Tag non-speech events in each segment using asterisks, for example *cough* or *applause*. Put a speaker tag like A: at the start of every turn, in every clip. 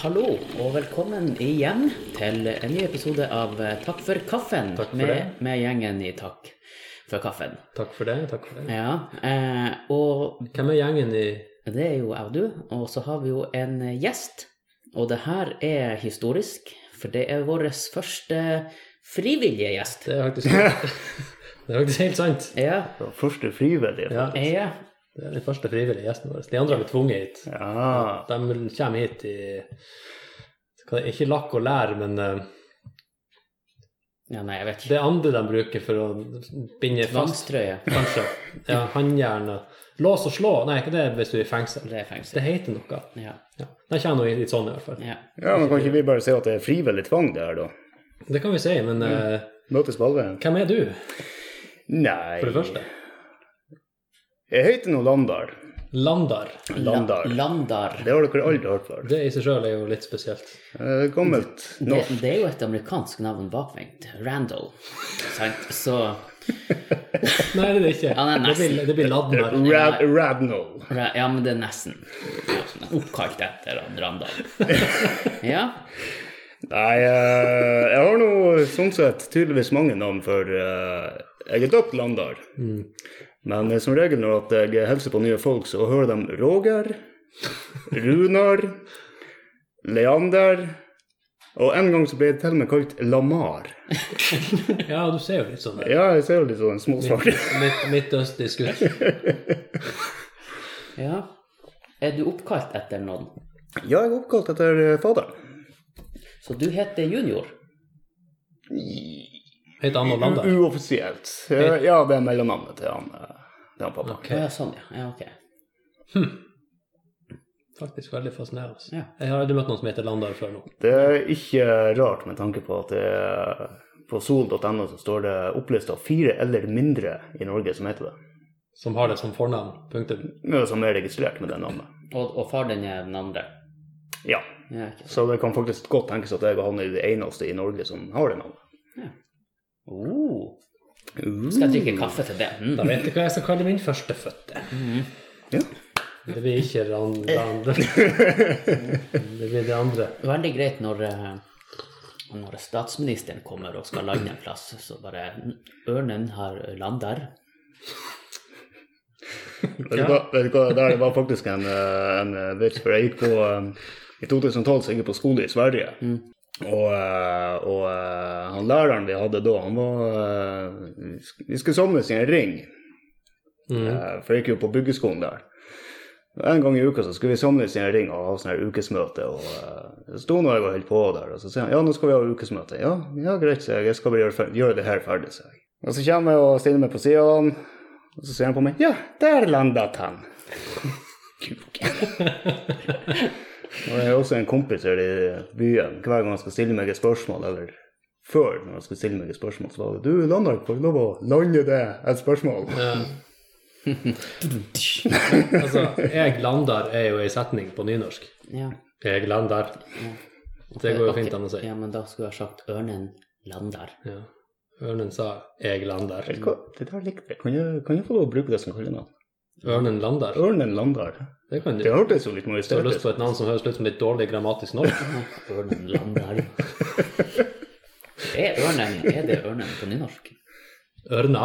A: hallo og velkommen igjen til en ny episode av eh, Takk for kaffen
B: Takk for
A: med,
B: det.
A: med gjengen i Takk for kaffen.
B: Takk for det. takk for det.
A: Ja, eh, og
B: Hvem er gjengen i
A: det er jo jeg og du, og så har vi jo en gjest. Og det her er historisk, for det er vår første frivillige gjest.
B: Det er faktisk, det er faktisk helt sant.
A: Ja,
C: Den første frivillige.
B: Ja, det
A: ja,
B: er den første frivillige gjesten vår. De andre har blitt tvunget hit.
C: Ja.
B: De kommer hit i hva det- ikke lakk og lær, men eh,
A: ja nei, jeg vet ikke.
B: det andre de bruker for å binde fast
A: Tvangstrøye,
B: Kanskje. Ja, Håndjern og Lås og slå. Nei, ikke det hvis du er i fengsel.
A: det er
B: Det
A: fengsel.
B: heter noe.
A: Ja,
B: Ja. De kommer nå hit sånn, i hvert fall.
A: ja.
C: ja, men kan ikke vi bare si at det er frivillig tvang, det her, da?
B: Det kan vi si, men eh,
C: Møtes på allveien?
B: hvem er du,
C: Nei
B: for det første?
C: Jeg heter nå Landar.
B: Landar.
C: Landar.
A: La- Landar.
C: Det har dere aldri hørt før.
B: Det i seg sjøl er jo litt spesielt.
C: Eh, Gammelt
A: Det,
C: norsk.
A: det er jo et amerikansk navn bakvendt. Randall. Sant? Så
B: Nei, det er det ikke.
A: Ja, det er
B: det, blir,
A: nesten.
B: det blir Ladnar.
C: Rad Radnall.
A: Ra- Ja, men det er nesten. Ja, men Oppkalt etter han
B: *laughs*
A: Randall. Ja.
C: Nei, eh, jeg har nå sånn sett tydeligvis mange navn, for eh, jeg er døpt Landar. Men eh, som regel når at jeg hilser på nye folk, så hører de Roger, Runar, Leander Og en gang så ble jeg til og med kalt Lamar.
B: Ja, du ser jo litt sånn der.
C: Ja, jeg ser jo litt sånn småsvart ut.
B: Midt, midtøstisk ut.
A: ja. Er du oppkalt etter noen?
C: Ja, jeg er oppkalt etter eh, faderen.
A: Så du heter Junior?
B: Helt annet land der.
C: U- Uoffisielt. Eh, Ja, det er mellomnavnet til han, eh, til han pappa.
B: Ok,
A: Å ja, sånn, ja. ja ok.
B: Faktisk veldig fascinerende.
A: Ja.
B: Jeg har aldri møtt noen som heter Landar før nå.
C: Det er ikke rart med tanke på at det er på sol.no så står det opplista fire eller mindre i Norge som heter det.
B: Som har det som fornavn. Punktum.
C: Men Som er registrert med det navnet.
A: Og, og far din er den andre?
C: Ja.
A: Ja, ikke sant.
C: Så det kan faktisk godt tenkes at jeg og han er de eneste i Norge som har det navnet.
A: Oh,
C: Uh.
A: skal jeg drikke kaffe til det?
B: Da
A: Mm.
B: vet jeg hva jeg skal kalle min førstefødte.
A: Mhm.
C: Ja.
B: Det blir ikke Randar. Det blir det andre.
A: Veldig greit når, eh, når statsministeren kommer og skal lande en plass, så bare Ørnen har lander.
C: Vet du hva, vet du hva det der var faktisk en, eh, en eh, vits, for jeg gikk på eh, I 2012 så gikk jeg på skole i Sverige. Og, eh, og eh, han læreren vi hadde da, han var eh, Vi skulle samles i en ring. Eh, For jeg gikk jo på byggeskolen der. En gang i uka så skulle vi samles i en ring og ha sånn her ukesmøte. og eh, Det sto når jeg var helt på der, og så sier han ja, nå skal vi ha ukesmøte. Ja, ja greit, sier jeg. Jeg skal bare gjøre, fer- gjøre det her ferdig, sier jeg. Og så kommer jeg og stiller meg på sida av han, og så ser han på meg. Ja, der landet *laughs* han. Kuk. Og jeg har også en kompis her i byen. Hver gang han skal stille meg et spørsmål, eller før når han skal stille meg et spørsmål, så var det du, Landar, får jeg lov å lande det et spørsmål?
B: Um, Altså, jeg Landar er jo ei setning på nynorsk.
A: Ja.
B: Jeg Landar. Det går jo fint an å si.
A: Ja, men da skulle jeg sagt ørnen lander.
B: Ja. Ørnen sa 'jeg Landar'.
C: Vet du hva, det der likte jeg. Kan jeg, kan jeg få lov å bruke det som kallenavn?
B: Ørnen Landar.
C: Ørnen Landar.
B: Det kan du.
C: Det hørtes jo litt
B: Du har lyst
C: majestetisk
B: på et navn som høres ut som litt dårlig grammatisk norsk?
A: Ørnen lander. Er, ørnen, er det ørnen på nynorsk? ah,
B: Ørna.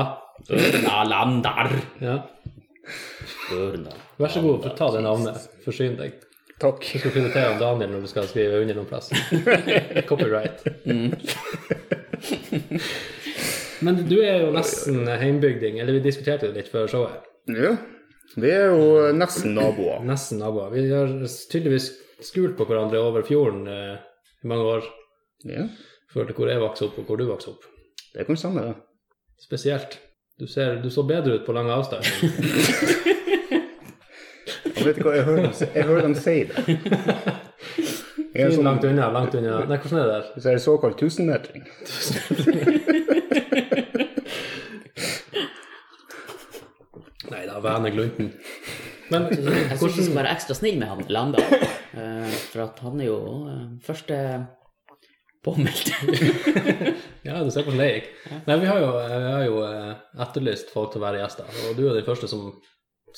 A: Ørna lander!
B: Ja.
A: Ørna.
B: Vær så god, ta det navnet. Forsyn deg.
C: Takk.
B: Du skal finne til om Daniel når du skal skrive under noen plass. Copyright. *laughs* Men du er jo nesten heimbygding, eller vi diskuterte jo litt før showet.
C: Ja. Vi er jo nesten naboer.
B: Nesten naboer. Vi har tydeligvis skult på hverandre over fjorden eh, i mange år.
C: Ja.
B: Følte hvor jeg vokste opp, og hvor du vokste opp.
C: Det kan stemme, det.
B: Spesielt. Du, ser, du så bedre ut på lang avstand.
C: Og vet du hva, jeg hører dem, si- jeg hører dem si *laughs* det. Jeg er
B: Fin
C: sånn,
B: langt unna, langt unna. Nei, hvordan er det der?
C: så er det såkalt tusenmetring.
B: Nei da, Vene Glunten. Men
A: Jeg synes vi skal
B: hvordan
A: være ekstra snill med han Landa, eh, for at han er jo eh, første påmeldte.
B: Ja, du ser hvordan det gikk. Nei, vi har jo, vi har jo eh, etterlyst folk til å være gjester, og du er den første som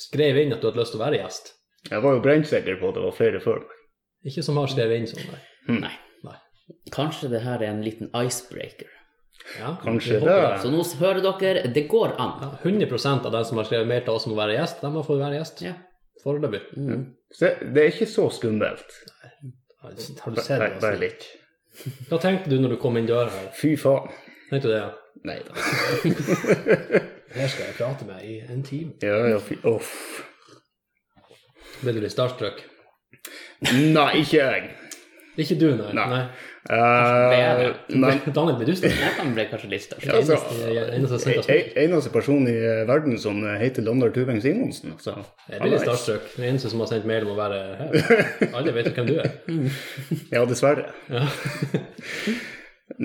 B: skrev inn at du hadde lyst til å være gjest.
C: Jeg var jo brennsikker på at det var flere før meg.
B: Ikke som har skrevet inn sånn, nei.
A: Nei.
B: Nei.
A: Kanskje det her er en liten icebreaker.
B: Ja,
C: Kanskje
B: vi håper
A: Så
C: det.
A: nå hører dere, det går an.
B: Ja, 100 av de som har skrevet mer til oss om å være gjest, de har fått være gjest.
A: Ja.
B: Foreløpig.
A: Mm.
C: Så det er ikke så skummelt.
B: Har du sett det?
C: Bare bare
B: Altså?
C: litt.
B: Hva tenkte du når du kom inn døra her?
C: Fy faen.
B: Tenkte du det? ja?
C: Nei da.
B: Her skal jeg prate med i en time.
C: Ja, ja, fy Uff.
B: Ble du litt starstruck?
C: Nei, ikke jeg.
B: Ikke du, nei.
C: Nei.
B: nei.
C: Eh,
A: jeg
C: nei.
B: Daniel blir du større?
A: Jeg kan bli kanskje litt størst.
C: Ja, altså,
B: Eneste- eneste som sendte oss
C: en- eneste person i verden som heter Landar Tuveng Simonsen. Altså.
B: Jeg blir litt starstruck. Den eneste som har sendt mail om å være her.
C: *laughs*
B: Alle vet jo hvem du er.
C: Ja, dessverre.
B: Ja.
C: *laughs*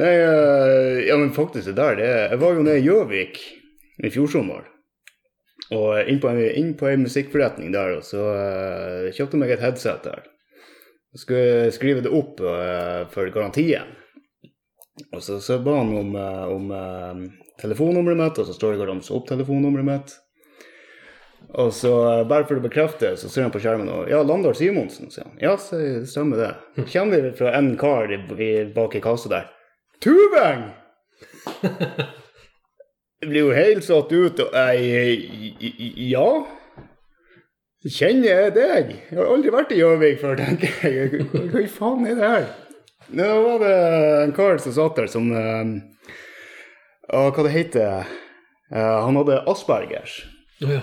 C: Nei, eh, ja, men faktisk det der, det er Jeg var jo nede i Gjøvik i fjor sommer. Og inn på, en, inn på en musikkforretning der, og så eh, kjøpte jeg meg et headset der. Så skulle jeg skrive det opp eh, for garantien. Og så, så ba han om, eh, om eh, telefonnummeret mitt, og så står det hvordan så opp telefonnummeret mitt. Og så, eh, bare for å bekrefte, så ser han på skjermen og Ja, Landar Simonsen, sier han. Ja, så stemmer det. Kommer fra en kar i, i, bak i kassa der. Tuveng! Jeg blir jo helt satt ut, og jeg i- i- Ja? Kjenner jeg deg? Jeg har aldri vært i Gjøvik før, tenker jeg. Hva hva i faen er det her? Nå var det en kar som satt der som eh, Ja, hva det heter Eh, Han hadde aspergers.
B: Å ja.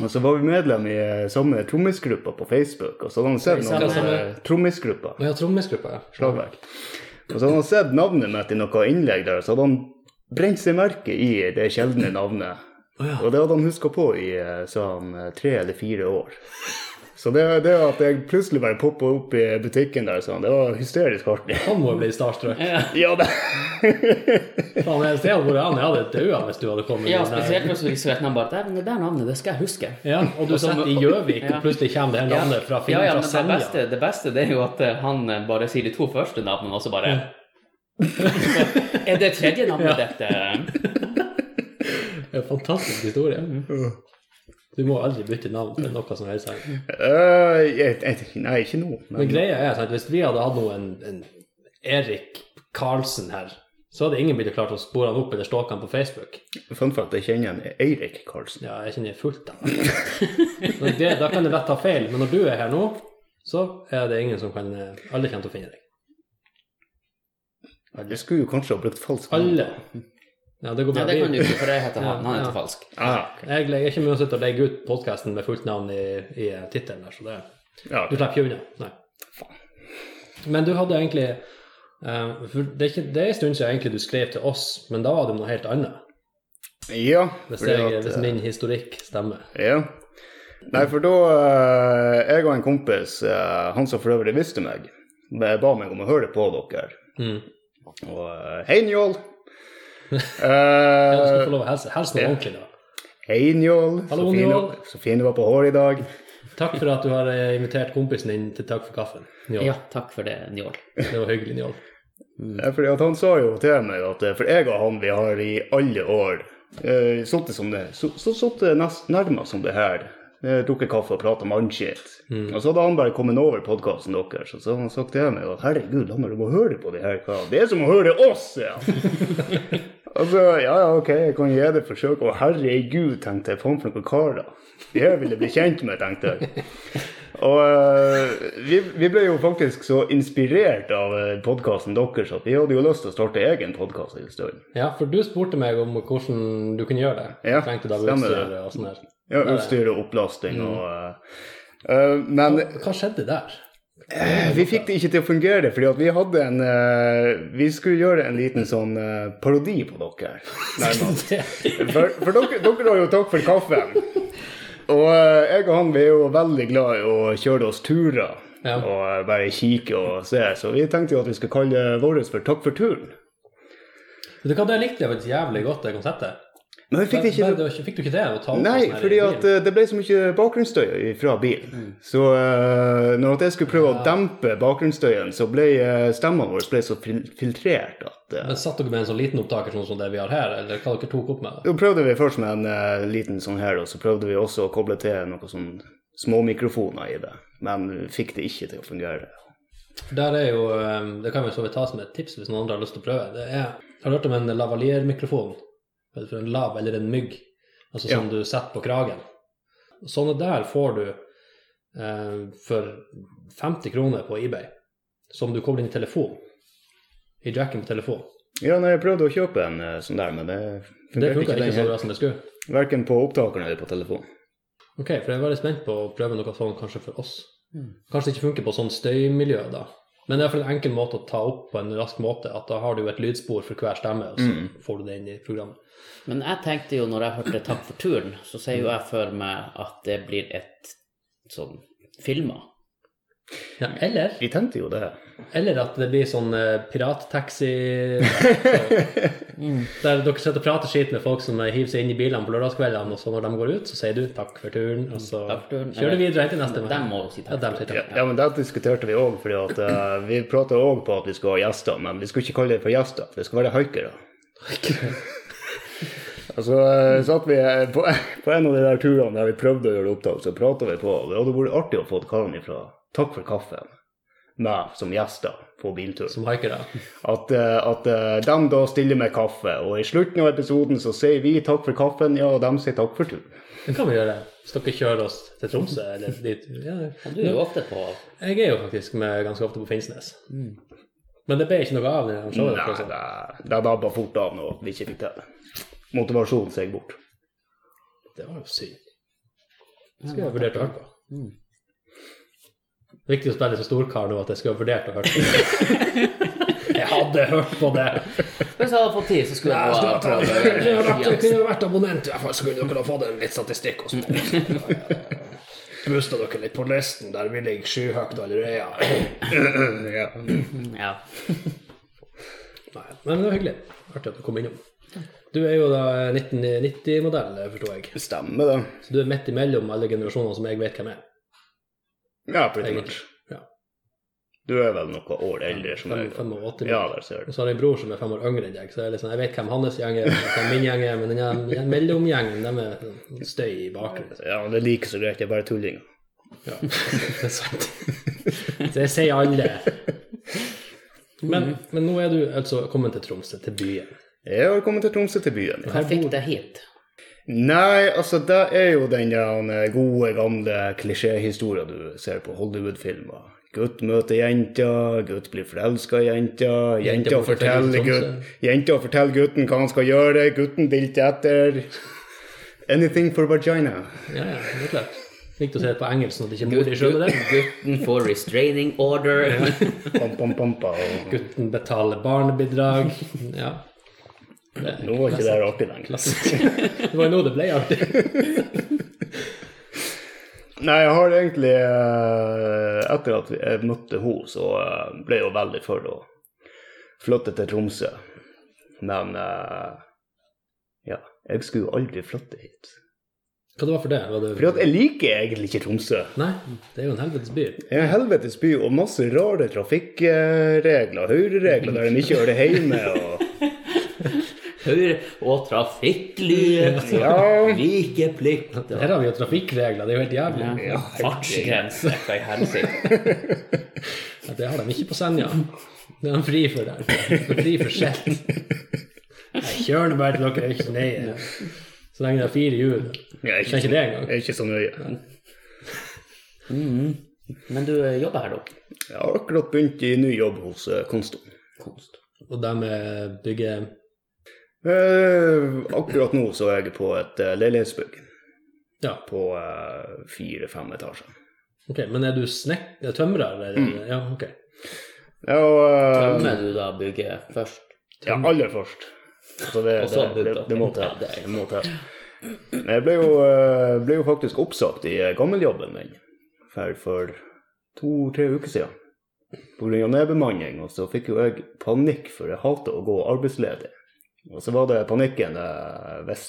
C: Og så var vi medlem i eh, samme trommisgruppa på Facebook, og så hadde han sett
A: I
C: noen
A: samme-
C: eh, trommisgrupper.
B: Å ja, trommisgruppa, ja.
C: Slagverk. Og så hadde han sett navnet mitt i noe innlegg der, så hadde han brent seg merke i det sjeldne navnet.
B: Å ja.
C: Og det hadde han huska på i eh, sa han, eh, tre eller fire år. Så det, det at jeg plutselig bare poppa opp i butikken der, sa han, det var hysterisk artig. *laughs*
B: Han må jo bli starstruck.
C: Ja, det.
B: Faen, jeg ser hvor han jeg hadde daua hvis du hadde kommet
A: Ja,
B: inn der.
A: spesielt hvis du ikke vet navnet bare. "Dæven, Det der navnet, det skal jeg huske.
B: Ja, og du
A: Og så-
B: sitter i Gjøvik,
A: Ja.
B: og plutselig kommer det her navnet fra
A: ja, ja,
B: Finn fra
A: men det
B: Senja.
A: beste, det beste det er jo at eh, han eh, bare sier de to første navnene, og så bare
B: Mm.
A: *laughs* Er det tredje navnet eh? dette?
B: Det er en fantastisk historie.
A: Mm.
B: Du må aldri bytte navn til noe som helst. her.
C: Eh, jeg, jeg, nei, ikke nå.
B: Men
C: Men,
B: greia er at hvis vi hadde hatt noe en, en Erik Karlsen her, så hadde ingen blitt klart å spore han opp eller stalke han på Facebook.
C: fun fact, jeg kjenner en Eirik Karlsen.
B: Ja, jeg kjenner fullt av
A: *laughs*
B: Men det. Da kan jeg lett ta feil, men når du er her nå, så er det ingen som kan eh, Alle kommer til å finne deg.
C: Jeg skulle jo kanskje ha brukt falskt navn.
B: Alle. Ja, det går
A: Ja,
B: bra.
A: det kan du
B: Vi-
A: ikke, for jeg heter han. Han
B: Ja, ja.
A: heter Falsk.
C: Ah, ok.
B: Jeg, jeg er ikke med å sitte og legge ut podkasten med fullt navn i, i eh, tittelen, her, så det
C: ja,
B: Du slipper ikke unna. Nei. Men du hadde egentlig eh, for det, er ikke, det er en stund siden egentlig du skrev til oss, men da var det om noe helt annet.
C: ja
B: Hvis,
C: fordi
B: jeg,
C: at, eh,
B: hvis min historikk stemmer.
C: Ja. Nei, for da eh, Jeg og en kompis, eh, han som for øvrig visste meg, ba ba meg om å høre på dere.
B: Mm.
C: Og eh, hei,
B: *laughs*
C: Njål.
B: Ja, du skal
C: Eh,
B: få lov å helse, helse noe
C: ja.
B: ordentlig, da.
C: hei, Njål.
B: Hallo,
C: Så fin du-
B: Njål.
C: Så fin du var på håret i dag.
B: Takk for at du har eh, invitert kompisen din til takk for kaffen. Njål.
A: Ja, takk for det, Njål.
B: Det var hyggelig, Njål.
C: Eh, Fordi at han sa jo til meg at eh, For jeg og han, vi har i alle år eh, sittet som det så- så- sittet nest- nærmest som det her. Eh, Drukket kaffe og prata mannskitt. Og så hadde han bare kommet over podkasten deres, og så hadde han sagt til meg at herregud, la meg du må høre på det her, hva Det er som å høre oss, ja! altså, ja ja, ok, jeg kan gi det et forsøk, og herregud, tenkte jeg, faen for noen karer. De her vil jeg bli kjent med, tenkte jeg. Og eh, vi, vi ble jo faktisk så inspirert av podkasten deres at vi hadde jo lyst til å starte egen podkast en stund.
B: Ja, for du spurte meg om hvordan du kunne gjøre det.
C: Ja,
B: Trengte da
C: stemmer det.
B: utstyr og sånn der.
C: Ja, utstyr og opplasting og eh, eh, Men
B: Hva skjedde der?
C: Eh, vi fikk det ikke til å fungere, fordi at vi hadde en eh, Vi skulle gjøre en liten sånn eh, parodi på dere. Nærmest. For, for dere, dere har jo takk for kaffen. Og eh, jeg og han vi er jo veldig glad i å kjøre oss turer
B: Ja.
C: og eh, bare kikke og se. Så vi tenkte jo at vi skal kalle vårt for Takk for turen.
B: Vet du hva, det likte jeg faktisk jævlig godt, det konseptet.
C: Men vi fikk det ikke
B: Bare- bare- Fikk du ikke det? å ta opp
C: Nei,
B: sånn her i
C: fordi
B: bilen?
C: at eh, det ble så mye bakgrunnsstøy fra bilen. Så eh, når at jeg skulle prøve å dempe bakgrunnsstøyen, så ble eh, stemmen vår ble så fil filtrert at eh,
B: Men satt dere med en sånn liten opptaker sånn som det vi har her, eller hva dere tok opp med? da?
C: Da prøvde vi først med en eh, liten sånn her, og så prøvde vi også å koble til noen sånn små mikrofoner i det. Men vi fikk det ikke til å fungere.
B: For der er jo eh, Det kan vi så vidt ta som et tips hvis noen andre har lyst til å prøve. Det er, har du hørt om en lavaliermikrofon? Vet du, For en lav eller en mygg. Altså
C: Ja.
B: som du setter på kragen. Sånne der får du eh, for 50 kroner på eBay. Som du kobler inn i telefon. I jacken på telefon.
C: Ja, nei, jeg prøvde å kjøpe en eh, sånn der, men det
B: Det
C: fungerte
B: funka ikke
C: ikke, den
B: så bra
C: helt.
B: som det skulle.
C: Verken på opptakeren eller på telefonen.
B: Ok, for jeg er veldig spent på å prøve noe sånt kanskje for oss.
A: Mm.
B: Kanskje det ikke funker på sånn støymiljø, da. Men det er iallfall en enkel måte å ta opp på en rask måte. At da har du jo et lydspor for hver stemme, og så
C: Mm.
B: får du det inn i programmet.
A: Men jeg tenkte jo, når jeg hørte 'Takk for turen', så ser jo jeg for meg at det blir et sånn filma.
B: Ja, eller,
C: Vi tenkte jo det.
B: Mm. eller at det blir sånn eh, pirattaxi
A: Mm.
B: *laughs* Der dere sitter og prater skit med folk som eh, hiver seg inn i bilene på lørdagskveldene, og så når de går ut, så sier du 'takk for turen', og så
A: Takk for turen.
B: kjører du videre helt til neste
A: De må jo si
B: Ja,
A: takk.
B: dem sier
C: Ja,
B: takk.
C: ja men det diskuterte vi òg, fordi at eh, vi prata òg på at vi skulle ha gjester, men vi skulle ikke kalle det for gjester, det skulle være haikere. Og så eh, satt vi eh, på, *laughs* på en av de der turene der vi prøvde å gjøre opptak, så prata vi på, og det hadde vært artig å få karen ifra Takk for kaffen meg som gjester på biltur.
B: *laughs* Som haikere.
C: At, eh, at eh, de da stiller med kaffe, og i slutten av episoden så sier vi takk for kaffen, ja, og de sier takk for turen.
B: Det kan vi gjøre. Hvis dere kjører oss til Tromsø eller dit. Ja,
A: Du er jo ofte på
B: Jeg er jo faktisk med ganske ofte på Finnsnes. Men det ble ikke noe av det her showet. for å si
C: Nei,
B: det.
C: det, det dabba fort av når vi ikke fikk til det. Motivasjonen seg bort.
B: Det var jo Mm. synd. Det skulle jeg vurdert å høre på. Viktig å spille så storkar nå at jeg skulle ha vurdert å høre *laughs* på. jeg hadde hørt på det!
A: Hvis jeg hadde fått tid, så skulle jeg ha prøvd å gjøre det.
B: jo vært abonnent, i hvert fall så kunne dere ha fått en litt statistikk hos meg. Busta dere litt på listen, der vi ligger skyhøyt allerede.
C: Ja.
A: Ja.
B: Nei, men det var hyggelig. Artig at du kom innom. Du er jo da 1990-modell, forstår jeg.
C: Stemmer det.
B: Så du er midt imellom alle generasjoner som jeg vet hvem er.
C: Ja, pretty much.
B: Egentlig. Ja.
C: Du er vel noe år eldre som
B: Fem,
C: jeg.
B: fem og åtte.
C: Ja, der ser
B: Og
C: du.
B: så har jeg en bror som er fem år yngre enn deg, så jeg, er litt sånn, jeg vet hvem hans gjeng er, hvem min gjeng er, men den, her- den mellomgjengen, dem er sånn støy i bakgrunnen.
C: Ja, men det er like så greit, det er bare tullinger.
B: Ja, *laughs* det er sant. Så jeg sier alle. Men, men nå er du altså kommet til Tromsø, til byen.
C: Jeg har kommet til Tromsø, til byen.
A: Hva fikk deg hit?
C: Nei, altså, det er jo den der eh, gode, gamle klisjéhistoria du ser på Hollywood-filmer. Gutt møter jenta, gutt blir forelska i jenta, jenta
B: bor
C: forteller
B: tilfeldigvis i Tromsø.
C: gutten, jenta forteller gutten hva han skal gjøre, gutten dilter etter. Anything for vagina.
B: Ja, ja, det er klart. Viktig å se det på engelsk, sånn at ikke mor skjønner det.
A: Gutten får restraining order.
C: Pam, pam, pam, pam.
B: Gutten betaler barnebidrag. Ja.
C: Nå var ikke det her artig lenger.
B: Det var jo nå det ble artig.
C: Nei, jeg har egentlig eh, Etter at jeg møtte henne, så eh, ble jeg jo veldig for å flytte til Tromsø. Men eh, ja, jeg skulle jo aldri flytte hit.
B: Hva det var for det? Var
C: For
B: det...
C: jeg liker egentlig ikke Tromsø.
B: Nei, det er jo en helvetes by.
C: Det er en helvetes by og masse rare trafikkregler, høyreregler der de ikke hører hjemme. Og,
A: Høyre og *laughs* trafikklys.
C: Ja.
A: Vikeplikt.
B: Her har vi jo trafikkregler, det er jo helt jævlig.
A: Ja, Fartsgrense, hva i helsike.
B: Ja, det har de ikke på Senja. Det er de fri for der. De er fri for skjett. Nei, Kjør nå bare til dere er ikke nøye. Så lenge det er fire hjul.
C: jeg, er
B: Det er
C: ikke,
B: ikke det engang.
C: jeg er ikke så nøye.
A: Men du eh, jobber her, da?
C: Jeg har akkurat begynt i ny jobb hos eh, Konston.
A: Kunst.
B: Og de eh, bygger
C: Eh, akkurat nå så er jeg på et eh, leilighetsbygg.
B: Ja,
C: på eh, fire-fem etasjer.
B: ok. Men er du snek... er Tømrer?
A: Mm.
B: Eller? Ja, ok.
C: Ja, og, eh,
A: Tømmer du da bygget først?
C: ja, aller først. Altså det,
A: Og så
C: det, det, det må til.
A: Ja, det er-
C: Det må til. Men Jeg ble jo, eh, ble jo faktisk oppsagt i eh, gammeljobben min for, for to-tre uker siden. På grunn av nedbemanning, og så fikk jo jeg panikk, for jeg hater å gå arbeidsledig. Og så var det panikken eh, hvis,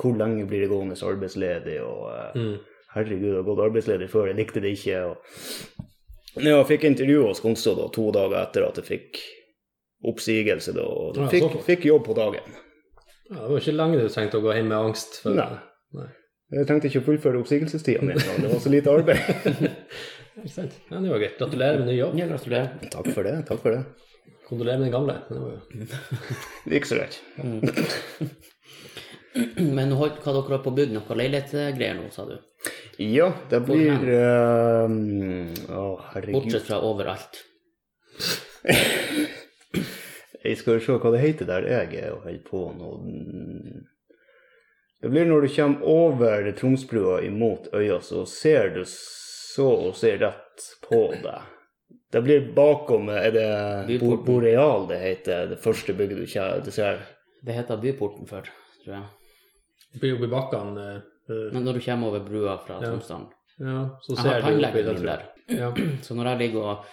C: Hvor lenge blir det gående arbeidsledig? og... eh,
B: Mm.
C: Herregud, jeg har gått arbeidsledig før, jeg likte det ikke. Og... Ja, jeg fikk intervju hos Konstå da, to dager etter at jeg fikk oppsigelse. Da, og
B: Ja,
C: fikk,
B: såpass.
C: fikk jobb på dagen.
B: Ja, det var ikke lenge du trengte å gå hjem med angst. For...
C: Nei. Jeg trengte ikke å fullføre oppsigelsestida mi, det var så lite arbeid.
B: Ikke sant? Ja, det var greit. Gratulerer med ny jobb.
A: Ja, gratulerer.
C: *laughs* Takk for det. takk for det.
B: Kondolerer med den gamle. Det var jo
C: Det gikk så greit.
A: *clears throat* Men nå holdt, hva dere holdt på å bygge noe leilighetsgreier nå, sa du?
C: Ja, det blir
A: Hvor
C: eh, Å, herregud.
A: Bortsett fra overalt.
C: Jeg skal jo se hva det heter der jeg er og holder på nå. Det blir når du kommer over Tromsbrua imot øya, så ser du så å si rett på det. Det blir bakom Er det Bo-
A: Byporten.
C: Boreal det heter, det første bygget du kje- du ser?
A: Det heter Byporten før, tror jeg.
B: Det blir jo oppi bakkene eh, eh,
A: Men når du kommer over brua fra
B: Ja.
A: Tromsdalen.
B: Ja, så
A: Jeg
B: ser
A: har
B: du oppi
A: tannlegen
B: det,
A: min
B: tror
A: der.
B: jeg. Ja.
A: *clears throat* Så når jeg ligger og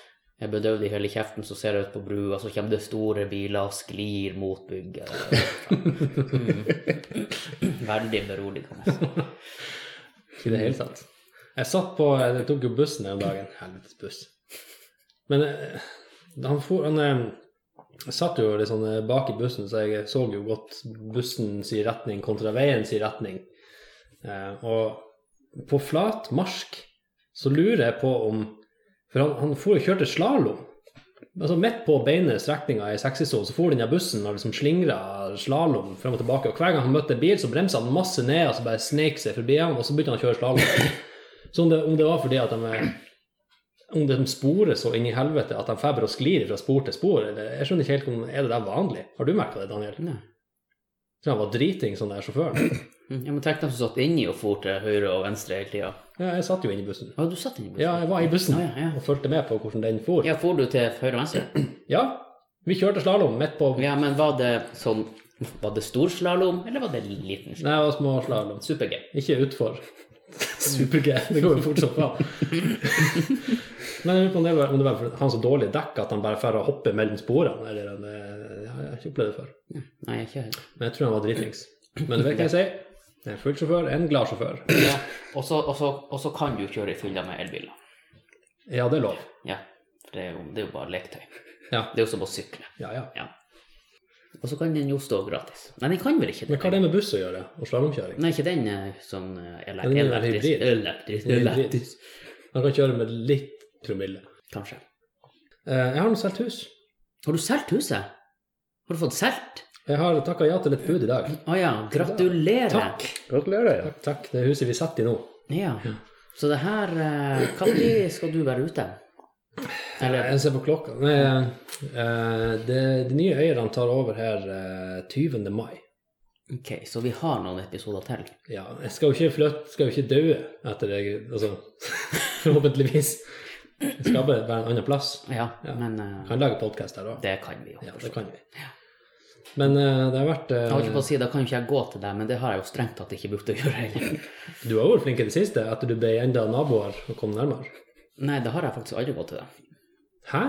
A: er bedøvd i hele kjeften, så ser jeg ut på brua, så kommer det store biler og sklir mot *laughs* bygget. Mm. Veldig beroligende.
B: Ikke i det hele tatt. Jeg satt på Jeg tok jo bussen den dagen. Helvetes buss. Men eh, han for han, eh, Jeg satt jo litt sånn eh, bak i bussen, så jeg så jo godt bussen sin retning kontra veien sin retning. Eh, og på flat marsk så lurer jeg på om For han, han for og kjørte slalåm. Altså midt på beine strekninga i 60-sonen så for den der bussen og liksom slingra slalåm frem og tilbake. Og hver gang han møtte en bil, så bremsa han masse ned og så bare sneik seg forbi ham, og så begynte han å kjøre slalåm. Så om det, om det var fordi at de om de sporer så inn i helvete at de feber og sklir fra spor til spor, eller jeg skjønner ikke helt om er det der vanlig. Har du merka det, Daniel?
A: Nei.
B: Jeg tror han var driting, sånn der sjåføren.
A: Mm, Ja, men tenk dem som satt inni og for til høyre og venstre hele tida.
B: Ja, jeg satt jo inne i bussen.
A: Å, du satt inni bussen?
B: Ja, jeg var i bussen
A: Ja, ja, ja.
B: og fulgte med på hvordan den for.
A: Ja, for du til høyre og venstre?
B: Ja, vi kjørte slalåm midt på Nei,
A: Ja, men var det sånn Var det stor slalåm, eller var det liten slalåm?
B: det var små slalåm.
A: Super-G.
B: Ikke utfor. *laughs* Super-G. Det går jo fort som *laughs* faen. Men jeg lurer på om det var, om det var for- han så dårlig dekk at han bare får hoppe mellom sporene. Eller han, eh, jeg har ikke opplevd det før.
A: Nei, ikke helt.
B: Men jeg tror han var dritings. Men du vet hva jeg sier. En full sjåfør, en glad sjåfør.
A: Ja, og så- og så- og så kan du kjøre i fylla med elbiler.
B: Ja, det er lov.
A: Ja, for det er jo, det er jo bare leketøy.
B: Ja,
A: Det er jo som å sykle.
B: ja. ja.
A: Ja. Og så kan den jo stå gratis. Nei, den kan vel ikke
B: Men hva har det med buss å gjøre? Og slalåmkjøring?
A: Nei, ikke den eh, sånn eh, ele-
B: Den er
A: elektrisk.
B: hybrid.
A: Elektrisk,
B: Det er
A: elektrisk,
B: drit. Han kan kjøre med litt promille.
A: kanskje.
B: Eh, Jeg har nå solgt hus.
A: Har du solgt huset? Har du fått solgt?
B: Jeg har takka ja til et bud i dag.
A: Å ja, gratulerer.
B: Takk.
C: Gratulerer.
B: Takk, takk. Det er huset vi sitter i nå.
A: Ja. Så det her Når skal du være ute? Eller
B: Jeg ser på klokka. Nei, eh, det, de nye eierne tar over her eh, 20. mai.
A: Ok, så vi har noen episoder til.
B: Ja, jeg skal jo ikke flytte, skal jo ikke dø etter det, altså *laughs* forhåpentligvis. Jeg skal bare være en annen plass.
A: Ja,
B: Ja.
A: men eh,
B: Kan lage podkast der òg.
A: det kan vi jo.
B: Ja,
A: for så
B: det
A: vidt.
B: kan vi. Men eh, det har vært eh,
A: Jeg holdt på å si, Da kan jo ikke jeg gå til deg, men det har jeg jo strengt tatt ikke brukt å gjøre heller.
B: *laughs* Du har vært flink i det siste, etter du ble enda naboer og kom nærmere.
A: Nei, da har jeg faktisk aldri gått til deg.
B: Hæ?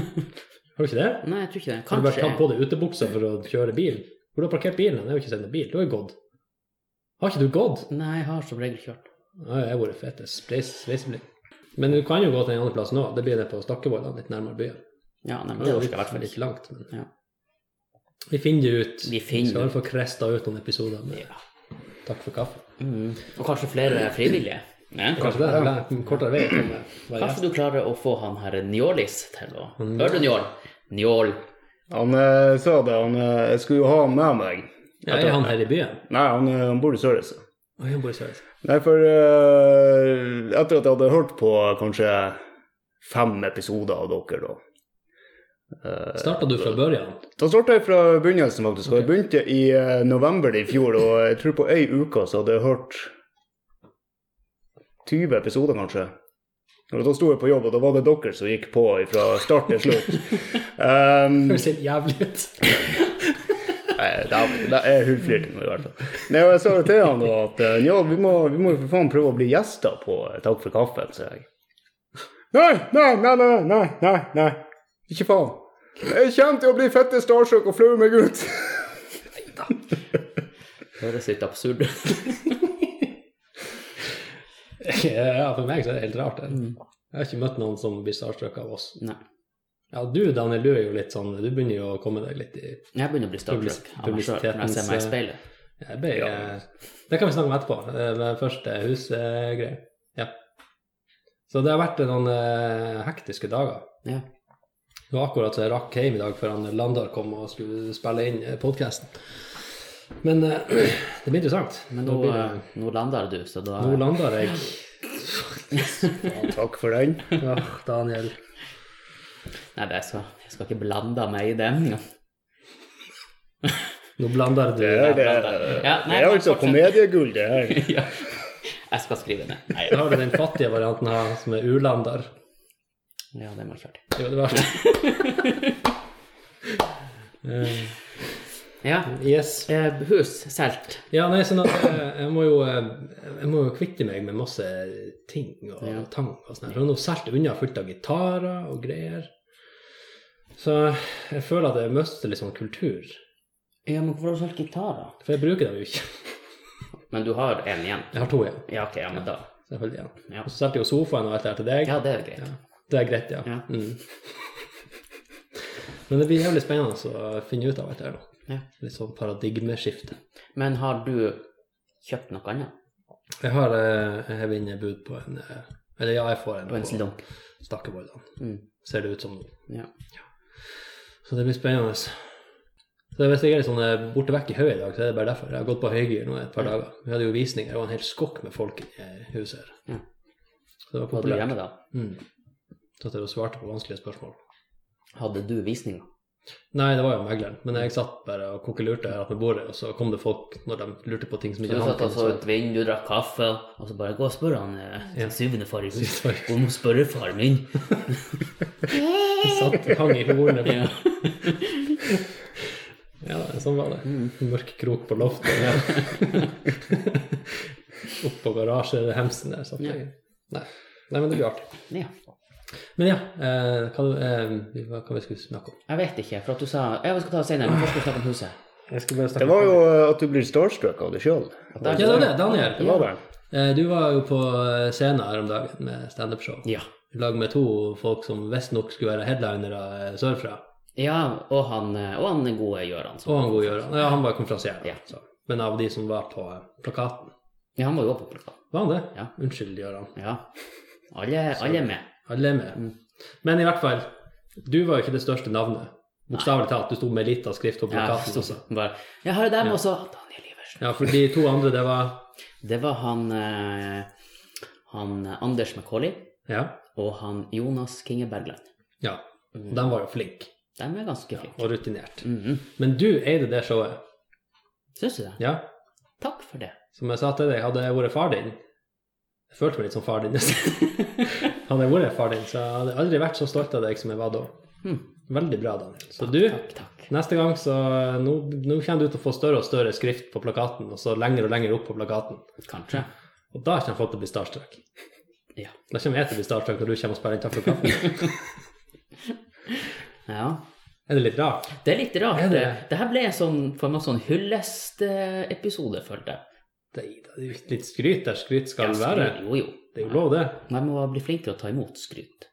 A: *laughs*
B: Har du ikke det?
A: Nei, jeg tror ikke det.
B: Har du bare
A: Kanskje
B: tatt på deg utebuksa for å kjøre bil? Hvor har du parkert bilen? Jeg har jo ikke sett noen bil. Du har jo gått. Har ikke du gått?
A: Nei, jeg har som regel kjørt.
B: Ja, jeg har vært fete. Spleis, sveiseblikk. Men du kan jo gå til en annen plass nå. Det blir det på Stakkevollan, litt nærmere byen.
A: Ja, nei, men det
B: Det er
A: orker jeg i hvert
B: litt,
A: fall
B: litt
A: ikke.
B: langt, men
A: Ja.
B: Vi finner det ut.
A: Vi finner
B: Skal i
A: det.
B: hvert fall kresta ut noen episoder. Men takk for kaffen.
A: Mm. Og kanskje flere frivillige. Nei, kanskje.
B: Kanskje det er en kortere vei. til å være gjest.
A: kanskje du klarer å få han her Njolis til å
B: Han-
A: Hører du Njål? Njål.
C: Han eh, sa det, han eh, Jeg skulle jo ha han med meg.
B: Ja, er han her i byen?
C: Nei, han, eh, han bor i Sørreisa.
B: Oi, han bor i Sverige.
C: Nei, for eh, etter at jeg hadde hørt på kanskje fem episoder av dere, da
B: Starta du fra børjan?
C: Da starta jeg fra begynnelsen, faktisk. Og jeg begynte i eh, november i fjor, og jeg tror på ei uke så hadde jeg hørt 20 episoder, kanskje. Og da sto jeg på jobb, og da var det dere som gikk på fra start til *laughs* slutt. Um,
B: Høres helt jævlig ut. *laughs*
C: Nei, det er- det er hullflirting i hvert fall. Nei, og jeg sa jo til han da at eh, ja, vi må, vi må jo for faen prøve å bli gjester på eh, Takk for kaffen, sa jeg. Nei, nei, nei, nei, nei, nei, nei. Ikke faen. Jeg kommer til å bli fette starstruck og flaue meg ut.
A: Høres litt absurd ut.
B: Ja, for meg så er det helt rart. Det. Jeg har ikke møtt noen som blir starstruck av oss.
A: *laughs* Nei.
B: Ja, du Daniel, du er jo litt sånn Du begynner jo å komme deg litt i
A: Jeg begynner å bli starstruck
B: Publis-
A: av meg selv når jeg ser meg i
B: publisitetens, eh,
A: speilet.
B: Jeg ble, Det kan vi snakke om etterpå. eh, Men først husgreier. Ja. Så det har vært noen eh, hektiske dager.
A: Ja.
B: Det var akkurat så jeg rakk hjem i dag før han Landar kom og skulle spille inn podkasten. Men eh, *clears throat* det blir interessant.
A: Men
B: Da
A: nå,
B: blir det-
A: eh, nå lander du, så da
B: nå lander jeg.
C: Takk for den.
B: Ja, Daniel.
A: Nei, jeg skal, jeg skal ikke blande meg i den. Ja.
B: Nå blander du.
C: Det er, det,
A: Ja,
C: det
A: nei,
C: er altså
A: fortsett.
C: komediegull, det her.
A: *laughs* *laughs* ja. Jeg skal skrive ned. Nei,
B: Da har du den fattige varianten her, som er Ulandar.
A: ja, det må jeg kjøre til.
B: Jo, det var Eh,
A: Ja.
B: Yes.
A: Eh, hus solgt.
B: Ja, nei, sånn at eh, jeg må jo, eh, jeg må jo kvitte meg med masse ting og
A: Ja.
B: tang og sånn. her. Så nå solgte jeg unna fullt av gitarer og greier. Så jeg føler at jeg mister litt sånn kultur.
A: Ja, men hvorfor har du solgt gitarer?
B: For jeg bruker dem jo ikke.
A: Men du har en igjen.
B: Jeg har to igjen.
A: Ja, ok, ja, men da.
B: Så jeg holder igjen.
A: Ja.
B: Og så solgte jeg jo sofaen og alt det her til deg.
A: Ja, det er greit.
B: Det er greit, ja.
A: Ja.
B: Mm. Men det blir jævlig spennende å finne ut av alt det her nå.
A: Ja.
B: Litt sånn paradigmeskifte.
A: Men har du kjøpt noe annet?
B: Jeg har eh, jeg vinner bud på en eh, Eller ja, jeg får en
A: På en slump?
B: Stakkevollene,
A: Mm.
B: ser det ut som nå.
A: Ja.
B: Så det blir spennende. Så Hvis jeg er litt sånn eh, borte vekk i høyet i dag, så er det bare derfor. Jeg har gått på høygir nå et par dager. Vi hadde jo visninger, og en hel skokk med folk i eh, huset her.
A: Ja.
B: Så det var
A: Var du
B: populært.
A: hjemme da?
B: Mm. Så at jeg svarte på vanskelige spørsmål.
A: Hadde du visninger?
B: Nei, det var jo megleren, men jeg satt bare og kokkelurte her ved bordet, og så kom det folk når de lurte på ting som
A: Så
B: ikke
A: du satt
B: handlet
A: og
B: om
A: så
B: det.
A: ut vinduet, du drakk kaffe, og så bare gå og spør han eh,
B: Ja.
A: syvende far i huset.
B: Syvende
A: Du må spørre faren min.
B: Jeg satt og hang i hornet.
A: Ja.
B: Ja, sånn var det.
A: Mm.
B: Mørk krok på loftet.
A: *laughs*
B: Oppå garasjehemsen der satt jeg. Nei. Nei, men det blir artig.
A: ja.
B: Men ja, eh, hva, eh, vi- hva, hva vi skulle snakke om?
A: Jeg vet ikke, for at du sa Ja, vi skal ta det senere, men først skal vi snakke om huset.
B: Jeg skulle bare
C: Det var jo eh, at du blir starstruck av deg sjøl.
B: Ja, det var det. Daniel,
C: Det var det.
B: eh, du var jo på scenen her om dagen med standup-show.
A: Ja.
B: I lag med to folk som visstnok skulle være headlinere eh, sørfra.
A: ja og, han, eh, og han gode Gøran. som-
B: Og han gode Gøran. Ja, han var konferansier. da,
A: Ja.
B: så. Men av de som var på eh, plakaten.
A: Ja, han var jo også på plakaten.
B: Var han det?
A: Ja.
B: Unnskyld, Gøran.
A: Ja. Alle, alle er med.
B: Alle er med. Men i hvert fall, du var jo ikke det største navnet. Bokstavelig talt, du sto med lita skrift på
A: Ja,
B: plakaten.
A: så,
B: også.
A: bare, jeg har jo dem også. Daniel Iversen.
B: Ja, for de to andre, det var
A: Det var han, eh, han eh, Anders McCauley
B: Ja.
A: og han Jonas Kinge Bergland.
B: ja. De var jo flinke
A: De er ganske flinke.
B: og rutinert.
A: Mhm.
B: Men du eide det showet.
A: Syns du det?
B: Ja.
A: Takk for det.
B: Som jeg sa til deg, hadde jeg vært far din Jeg følte meg litt som far din. *laughs* hadde jeg vært far din, så jeg hadde aldri vært så stolt av deg som jeg var da.
A: Hmm.
B: Veldig bra, Daniel. Så du,
A: Takk, takk.
B: neste gang, så nå, nå kommer du til å få større og større skrift på plakaten, og så lenger og lenger opp på plakaten.
A: Kanskje.
B: Og da kommer folk til å bli starstruck.
A: Ja.
B: Da kommer jeg til å bli starstruck når du kommer og spiller inn Takk for kaffen.
A: ja.
B: Er det litt rart?
A: Det er litt rart.
B: Er
A: det?
B: det?
A: her ble en sånn, for meg sånn hyllestepisode, følte jeg.
B: Det er jo litt skryt der skryt skal
A: Ja,
B: være.
A: skryt, Jo, jo.
B: Det er jo lov, det.
A: Man må bli flink til å ta imot skryt.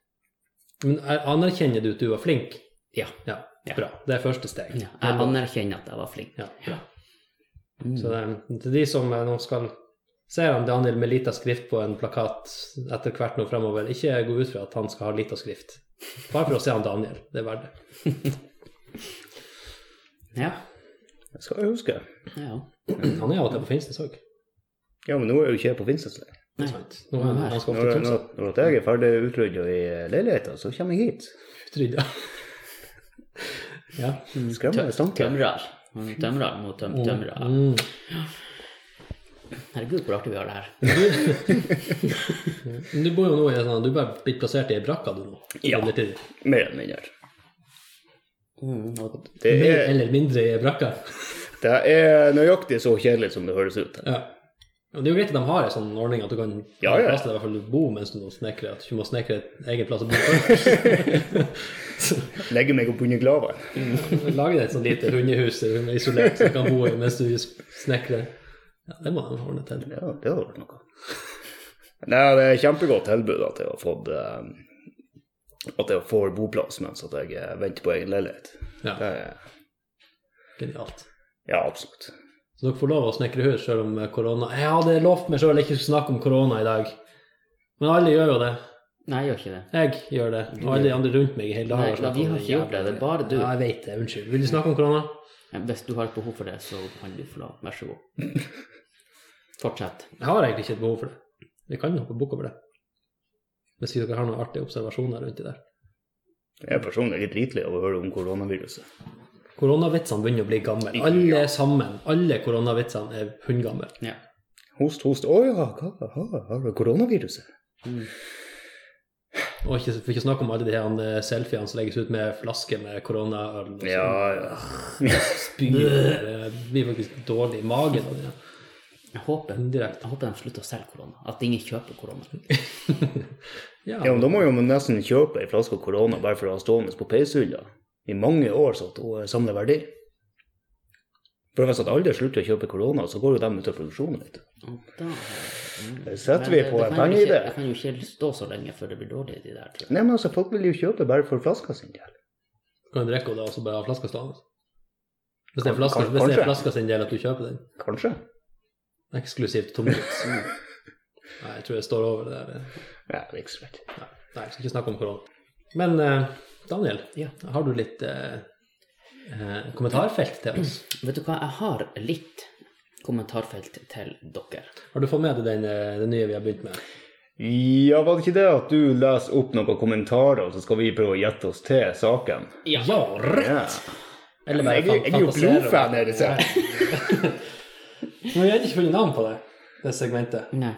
B: Men er- anerkjenner du at du var flink?
A: Ja.
B: Ja,
A: Ja.
B: bra. Det er første steg.
A: ja. Jeg anerkjenner at jeg var flink.
B: Ja, bra.
A: Mm.
B: Så det er til de som eh, nå skal se han Daniel med lita skrift på en plakat etter hvert nå fremover, ikke gå ut fra at han skal ha lita skrift. Bare for å se han Daniel. Det er verdt det.
A: Ja.
C: Det skal jeg huske.
A: ja.
B: Han er av og til på Finnsnes òg.
C: Ja, men nå er jo ikke jeg på Finnsnes lenger.
B: Nå er han, han skal ofte til
C: Når, når,
B: Tromsø.
C: når at jeg er ferdig utrydda i leiligheta, så kommer jeg hit.
B: Trygd, ja. ja.
A: Mm.
C: Skremmende tanke.
A: Tømrer. Mm, Tømrer mot tøm tømrer.
B: Mm.
A: Herregud, hvor artig vi har det her.
B: Men Du bor jo nå i en sånn, du er bare blitt plassert i ei brakka du nå?
C: Ja.
B: Midlertidig.
C: Mer eller mindre.
A: Mm, og
C: Det
B: Mer
C: er,
B: eller mindre i ei brakka?
C: det er nøyaktig så kjedelig som det høres ut.
B: Ja. Men det er jo greit at de har en sånn ordning at du kan
C: Ja, ja.
B: plass til deg, i hvert fall du bo mens du nå snekrer, at du ikke må snekre et egen plass å bo
C: *laughs*
B: på.
C: Legger meg opp under glava.
B: Lage deg et sånt lite hundehus der du er isolert som du kan bo i mens du snekrer. Ja, det må de ordne til.
C: Ja, det hadde vært noe. Nei, det er et kjempegodt tilbud at jeg har fått eh, at jeg får boplass mens at jeg eh, venter på egen leilighet.
B: Ja,
C: Det er,
B: genialt.
C: ja, absolutt.
B: Så dere får lov å snekre hus selv eh, om korona Jeg hadde lovt meg sjøl ikke skulle snakke om korona i dag, men alle gjør jo det.
A: Nei, jeg gjør ikke det.
B: Jeg gjør det, og alle de andre rundt meg i hele dag
A: Nei, da, vi
B: snakket om
A: har ikke gjort det. Det er bare du.
B: Ja, jeg vet det. Unnskyld. Vil du snakke om korona?
A: Men Hvis du har et behov for det, så kan du få lov. Vær så god.
C: *laughs*
A: Fortsett.
B: Jeg har egentlig ikke et behov for det. Vi kan hoppe bukk over det. Hvis dere har noen artige observasjoner rundt det der.
C: Jeg er personlig litt dritlig av å høre om koronaviruset.
B: Koronavitsene begynner å bli gamle. Alle sammen, alle koronavitsene er hundgamle.
A: Ja.
C: Host, host. Å ja, hva har- har du koronaviruset?
A: Mm.
B: Og ikke, for ikke å snakke om alle de her eh, selfiene som legges ut med flasker med koronaøl. og sånn.
C: Ja, ja.
B: Spyr. Det blir faktisk dårlig i magen av det.
A: Jeg håper,
B: Indirekte.
A: jeg håper de slutter å selge korona. At ingen kjøper korona.
B: *laughs* Ja.
C: Ja, men Da må jo man nesten kjøpe ei flaske korona bare for å ha stående på peishylla i mange år, så at hun samler verdi. For hvis at alle slutter å kjøpe korona, så går jo de ut av produksjon. vet du.
A: Og da mm.
C: Det
A: Men
C: setter vi
A: det-
C: på
A: det
C: en
A: kan jo ikke-
C: pengeidé.
A: Det kan jo ikke stå så lenge før det blir dårlig, de der. Tror jeg.
C: Nei, men altså, Folk vil jo kjøpe bare for flaska sin del.
B: Kan du drikke og da også bare ha flaska stående? Hvis det er
C: Kan-
B: flaska,
C: kan-
B: hvis det er
C: kanskje.
B: flaska sin del at du kjøper den?
C: Kanskje.
B: Eksklusivt
C: *laughs*
B: tomgods. Nei, jeg tror jeg står over det der.
C: Ja, det er ikke så lett.
B: Nei, nei jeg skal ikke snakke om korona. Men eh, Daniel,
A: Ja.
B: har du litt eh, eh, kommentarfelt til oss?
A: Vet du hva, jeg har litt kommentarfelt til dere.
B: Har du fått med deg den, eh, det nye vi har begynt med?
C: Ja, var det ikke det at du leser opp noen kommentarer, og så skal vi prøve å gjette oss til saken?
A: Ja.
B: rett!
C: Ja.
B: Eller
C: Jeg, er- jeg er jo
B: fantasere om-
C: blodfan, er det sant?
B: Men vi har ikke funnet navn på det, det segmentet.
A: Nei.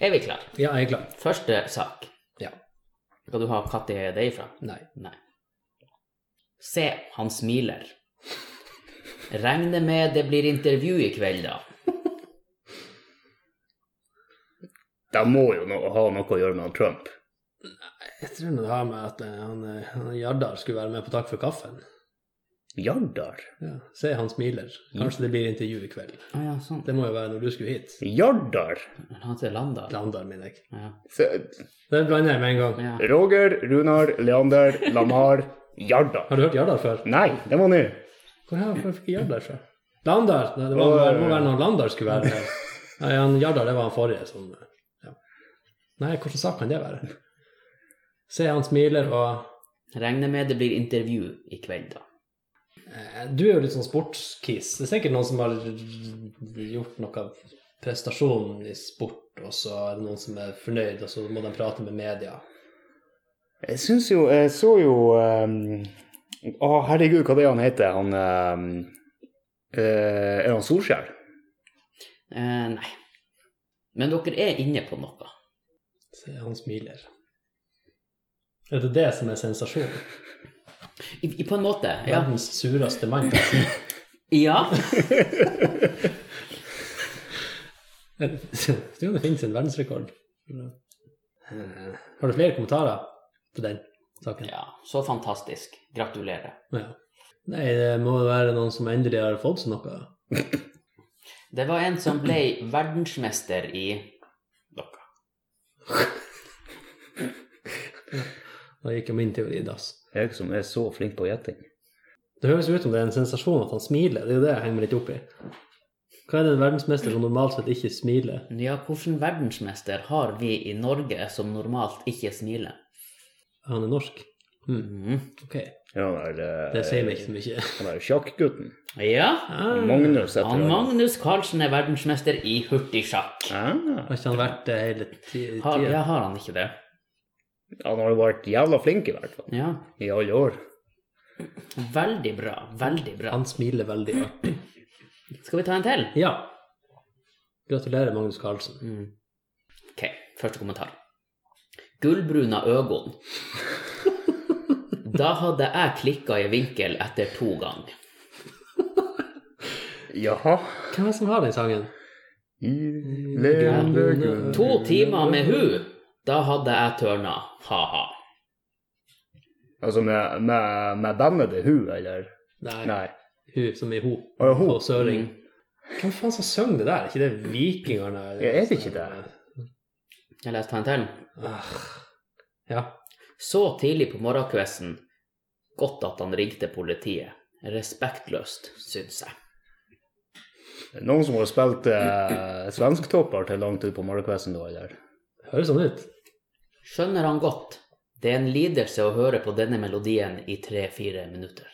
A: Er vi klar?
B: Ja, jeg er klar.
A: Første sak.
B: Ja.
A: Skal du ha hva det er det ifra?
B: Nei.
A: Nei. Se, han smiler. Regner med det blir intervju i kveld, da.
C: De må jo no ha noe å gjøre med han Trump.
B: Jeg tror det har med at eh, han, eh, han Jardar skulle være med på Takk for kaffen.
C: Jardar?
B: Ja, Se, han smiler. Kanskje det blir intervju i kveld.
A: Å ja, sånn.
B: Det må jo være når du skulle hit.
C: Jardar?
A: Men Han heter Landa.
B: Landar, mener jeg.
A: Ja.
C: Se-
B: Det blander jeg med en gang.
A: ja.
C: Roger, Runar, Leander, Lamar, Jardar.
B: Har du hørt Jardar før?
C: Nei, det var nå.
B: Hvor er- hvor fikk jeg Jardar fra? Landar! Nei, det, var, det må være når Landar skulle være her. Nei, han Jardar, det var han forrige. Sånn, ja. Nei, hvilken sak kan det være? Se, han smiler, og
A: Regner med det blir intervju i kveld, da.
B: eh, Du er jo litt sånn sportskis. Det er sikkert noen som har gjort noe prestasjon i sport, og så er det noen som er fornøyd, og så må de prate med media.
C: Jeg syns jo Jeg så jo ehm, Å, herregud, hva det er han heter? Han ehm, eh, Er han Solskjær?
A: Eh, nei. Men dere er inne på noe.
B: Se, han smiler. Er det det som er sensasjonen?
A: I, i, på en måte. Ja.
B: Verdens sureste mann.
A: ja.
B: *laughs* Tror du det finnes en verdensrekord? Har du flere kommentarer på den saken?
A: ja. Så fantastisk. Gratulerer.
B: Ja. Nei, det må være noen som endelig har fått seg noe.
A: Det var en som ble verdensmester i noe.
B: Da gikk jo min teori i dass.
C: Jeg som er så flink på gjetting.
B: Det høres ut som det er en sensasjon at han smiler. Det er jo det jeg henger meg litt opp i. Hva er det en verdensmester som normalt sett ikke smiler?
A: Ja, hvilken verdensmester har vi i Norge som normalt ikke smiler?
B: Han er norsk. Hmm.
A: Mm.
B: Ok,
C: Ja, han der,
B: det
C: eh,
B: sier meg ikke så mye.
C: han der sjakkgutten.
A: Ja.
B: Ah,
C: Magnus heter
A: Han
C: han.
A: Magnus Carlsen er verdensmester i hurtigsjakk.
C: Ah,
B: har ikke han vært det hele ti-
A: Har, ja,
B: tida?
A: har han ikke det?
C: han har jo vært jævla flink, i hvert fall.
A: Ja.
C: I alle år.
A: Veldig bra. Veldig bra.
B: Han smiler veldig artig.
A: Skal vi ta en til?
B: Ja. Gratulerer, Magnus Carlsen.
A: Mm. Ok, første kommentar. Gullbruna øgon. Da hadde jeg klikka i vinkel etter to ganger.
C: Jaha.
B: Hvem er det som har den sangen?
C: I levende Gud.
A: To timer med hu, da hadde jeg tørna. Ha-ha.
C: Altså med, med, med bandet The Who, eller?
B: Nei,
C: Nei.
B: hun som er ho.
C: Å, ja, Mm. ho.
B: På Søring. Hvem faen som sang det der? Er ikke det vikingene?
C: Jeg vet ikke det.
A: Jeg leste en til.
B: Ah. Ja.
A: Så tidlig på morgenkvisten. Godt at han ringte politiet. Respektløst, syns jeg.
C: Det er Noen som har spilt eh, svensktoppar til langt ut på morgenkvisten da, eller?
B: Høres sånn ut.
A: Skjønner han godt. Det er en lidelse å høre på denne melodien i tre-fire minutter.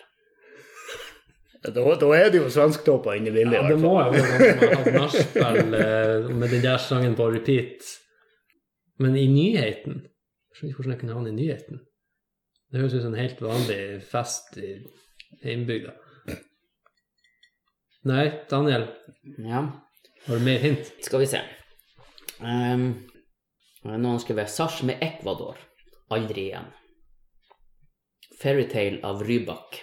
C: Da, da er det jo svensktopper inne i bildet,
B: Ja,
C: i
B: det
C: hvert
B: må
C: fall.
B: jo være noen som har hatt
C: *laughs*
B: nachspiel eh, med den der sangen på repeat. Men i nyheten Jeg skjønner ikke hvordan jeg kunne ha den i nyheten. Det høres ut som en helt vanlig fest i hjembygda. Nei, Daniel,
A: Ja.
B: har du mer hint? *laughs*
A: Skal vi se. Ehm, nå har han skrevet 'Sars med Ecuador'. Aldri igjen. Fairytale av Rybak.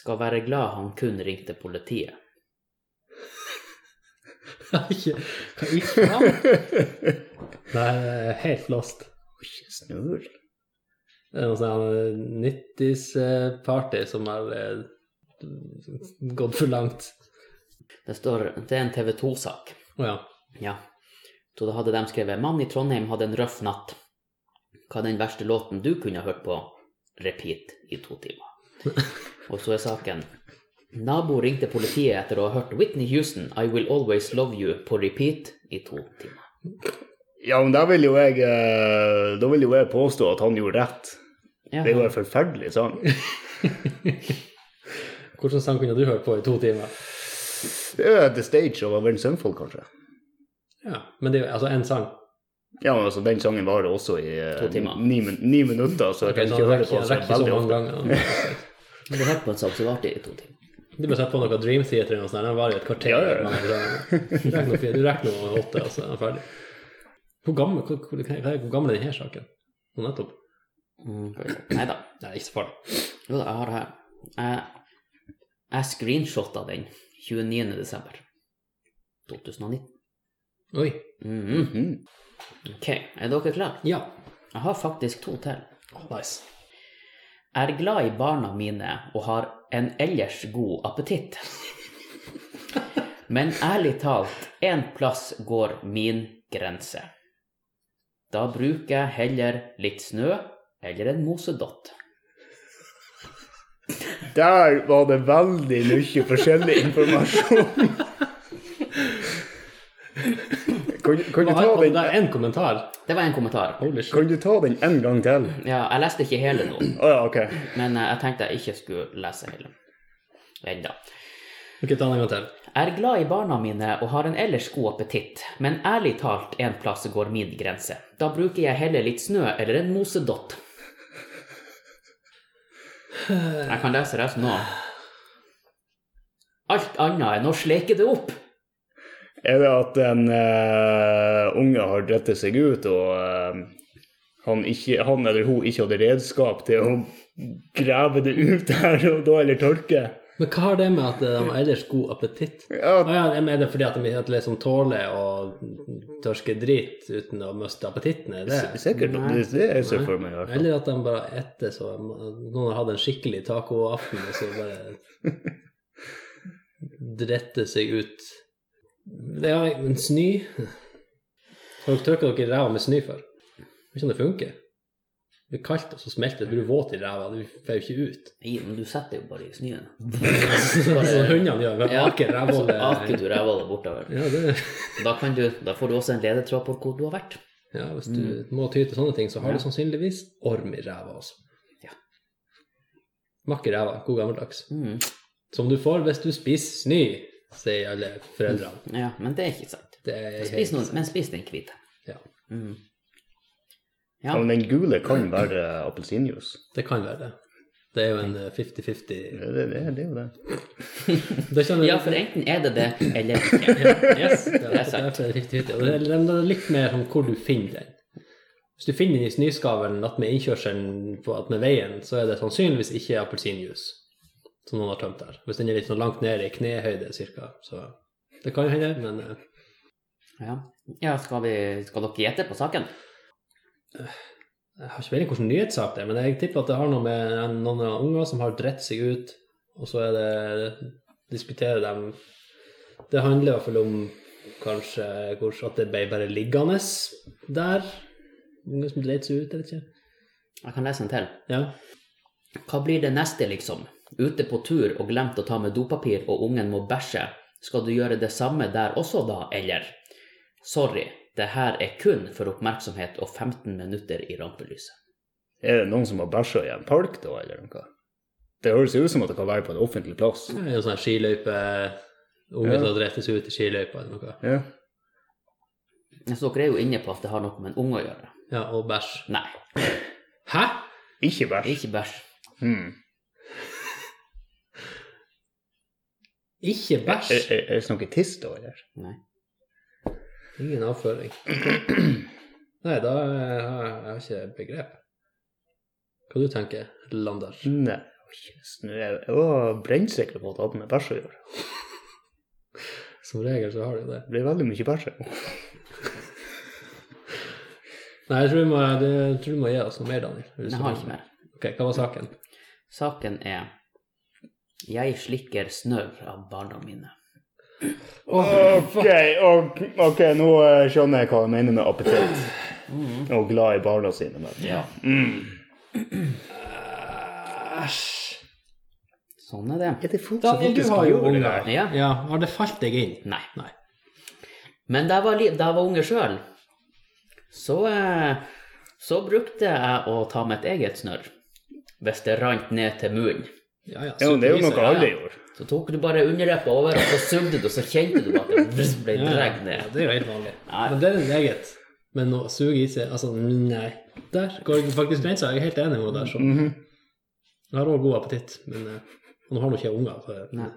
A: Skal være glad han kun ringte politiet.
B: Ikke- Hva i faen? Nei, jeg er helt lost.
C: Ikke snurr.
B: Det er noe sånn 90s-party som har eh, gått for langt.
A: Det står Det er en TV 2-sak.
B: Å ja.
A: Ja. Så da hadde de skrevet 'Mann i Trondheim hadde en røff natt'. Hva er den verste låten du kunne ha hørt på repeat i to timer? Og så er saken Nabo ringte politiet etter å ha hørt Whitney Houston 'I Will Always Love You' på repeat i to timer.
C: Ja, men da vil jo jeg eh, Da vil jo jeg påstå at han gjorde rett.
A: Ja,
C: Det er jo en forferdelig sang.
B: Hvilken sang kunne du hørt på i to timer?
C: Det er jo The Stage og Avenged Sunfold, kanskje.
B: Ja, Men det er jo altså én sang.
C: Ja, men altså, den sangen varer også i eh,
A: To timer.
C: ni, min- ni minutter, så jeg
B: Okay,
C: kan
B: så
C: ikke
B: han
C: høre
B: rekker,
C: på
B: han
C: den
B: rekker så
C: veldig
B: mange
C: ofte.
B: ganger.
A: men det hørte på en sak som varte i to timer.
B: Du bør sette på noe Dream Theater eller noe sånt. Den varer jo et kvarter.
C: Ja, ja, ja.
B: men det- Du rekker noe fire- du rekker noe åtte, og så er altså, den ferdig. Hvor gammel, hvor, hvor, hva er- hvor gammel er denne saken? Nå nettopp?
A: Mm, Nei da.
B: Nei, ikke så farlig.
A: Jo da, jeg har det her. Jeg, jeg screenshotta den 29. desember 2019.
B: Oi.
A: Mhm.
C: Mhm.
A: Ok, er dere klare?
B: Ja.
A: Jeg har faktisk to til.
B: Å, nice.
A: Er glad i barna mine og har en ellers god appetitt. Men ærlig talt, én plass går min grense. Da bruker jeg heller litt snø eller en mosedott.
C: Der var det veldig mye forskjellig informasjon. kan, kan, du
B: Hva
C: ta
B: har du
C: den,
B: der? En kommentar?
A: Det var en kommentar.
B: Holy shit.
C: kan du ta den en gang til?
A: Ja, jeg leste ikke hele nå,
C: Å ja, ok.
A: men eh, jeg tenkte jeg ikke skulle lese hele. Enda.
B: Ok, ta den en gang til.
A: Er glad i barna mine og har en ellers god appetitt, men ærlig talt, en plass går min grense. Da bruker jeg heller litt snø eller en mosedott. Jeg kan lese resten nå. Alt annet enn å sleke det opp.
C: Er det at en eh, unge har dritt seg ut, og eh, han, ikke, han eller hun ikke hadde redskap til å grave det ut der og da, eller tørke?
B: Men hva har det med at de har ellers god appetitt?
C: Ja,
B: Å ja, men er det fordi at de at de liksom tåler å tørke drit uten å miste appetitten? Er det?
C: s- sikkert. Det, det er jeg ser for meg. i hvert fall.
B: Eller at de bare etter så Noen har hatt en skikkelig tacoaften, og så bare dretter seg ut. Det er jo en snø Har dere tørka dere i ræva med snø før? Jeg vet ikke om det funker. Det blir kaldt, og så smelter det. Du blir våt i ræva. Du får jo ikke ut.
A: Nei, men du setter jo bare i snøen.
B: Sånn
A: *laughs*
B: som hundene gjør. med
A: Ja.
B: Aker
A: Aker
B: rævhullet.
A: du ræva bortover.
B: Ja, det
A: Da, kan du, da får du også en ledetråd på hvor du har vært.
B: Ja, hvis du
A: Mm.
B: må ty til sånne ting, så har du sannsynligvis orm i ræva også.
A: Ja.
B: Makk i ræva, god gammeldags.
A: Mm.
B: Som du får hvis du spiser snø, sier alle foreldrene.
A: Ja, men det er ikke sant.
B: Det er
A: Spis noen, men spis den hvite.
B: Ja,
A: Mm.
C: Ja, men den gule kan være appelsinjuice.
B: det kan være det. Det er jo en eh, 50-50
C: Det, det, det, det er jo det.
B: Det kjenner
A: Ja, for enten er det det, eller ikke. *laughs*
B: yes, det
A: det er
B: er
A: sant.
B: derfor det er 50-50. Og det er- det er litt mer om hvor du finner den. Hvis du finner den i snøskavelen at med innkjørselen på at med veien, så er det sannsynligvis ikke appelsinjuice som noen har tømt der. Hvis den er litt sånn langt ned i knehøyde cirka, så det kan jo hende, men eh,
A: Ja, ja skal, vi, skal dere gjette på saken?
B: jeg har ikke peiling hvilken nyhetssak det er. Men jeg tipper at det har noe med en- noen av unger som har dritt seg ut, og så er det diskuterer dem Det handler i hvert fall om kanskje hvordan at det ble bare liggende der. Unger som dreit seg ut, eller ikke.
A: Jeg kan lese en til.
B: Ja.
A: Hva blir det neste, liksom? Ute på tur og glemt å ta med dopapir, og ungen må bæsje. Skal du gjøre det samme der også, da, eller? Sorry, Det her er kun for oppmerksomhet og 15 minutter i rampelyset.
C: Er det noen som har bæsja i en park, da, eller noe? Det høres jo ut som at det kan være på en offentlig plass.
B: Det er jo sånn skiløype Unge
C: Ja.
B: som drepes ut i skiløypa eller noe.
C: Ja.
A: Så dere er jo inne på at det har noe med en unge å gjøre.
B: Ja, og bæsj.
A: Nei,
B: Hæ?
C: Ikke bæsj.
A: ikke bæsj.
C: Hmm.
B: Ikke
C: Er,
B: bæsj?
C: er, er det sånn ikke tiss, da, eller?
A: Nei.
B: Ingen avføring. Nei, da eh, har jeg jeg har ikke begrep. Hva du tenker Lander?
C: Nei. Jøss, nå er Jeg jeg var brennsikker på at det hadde med bæsj å gjøre.
B: Som regel så har du det.
C: Det blir veldig mye bæsj. her.
B: Nei, jeg tror vi må, jeg tror vi må gi oss noe mer, Daniel. Hvis
A: Jeg
B: du-
A: har ikke mer.
B: Ok, hva var saken?
A: Saken er Jeg slikker snørr av barna mine.
C: Ok, ok, ok, nå eh, skjønner jeg hva jeg mener med appetitt. Og glad i barna sine. Men.
A: Ja.
B: Æsj.
A: Sånn er det.
C: Er det folk som
B: Daniel, du
C: faktisk
B: har jo
C: gjør det?
B: unger.
A: Ja.
B: Ja, har det falt deg inn?
A: Nei.
B: Nei.
A: Men da jeg var, li- da jeg var unge sjøl, så, eh, så brukte jeg å ta mitt eget snørr. Hvis det rant ned til munnen.
B: Ja, ja,
C: Ja, men det er jo
B: superviser,
C: noe
B: ja, ja.
C: alle gjorde.
A: Så tok du bare underleppa over, og så sugde du, så kjente du at det ble
B: Ja,
A: dratt
B: Ja,
A: ned.
B: det er jo helt vanlig.
A: Nei.
B: Men det er ditt eget. Men å suge i seg Altså, nei. Der går det faktisk grensa. Jeg er helt enig med henne der. Så.
C: Mhm.
B: Jeg har òg god appetitt, men eh, og nå har nå ikke jeg unger. Så,
A: Nei.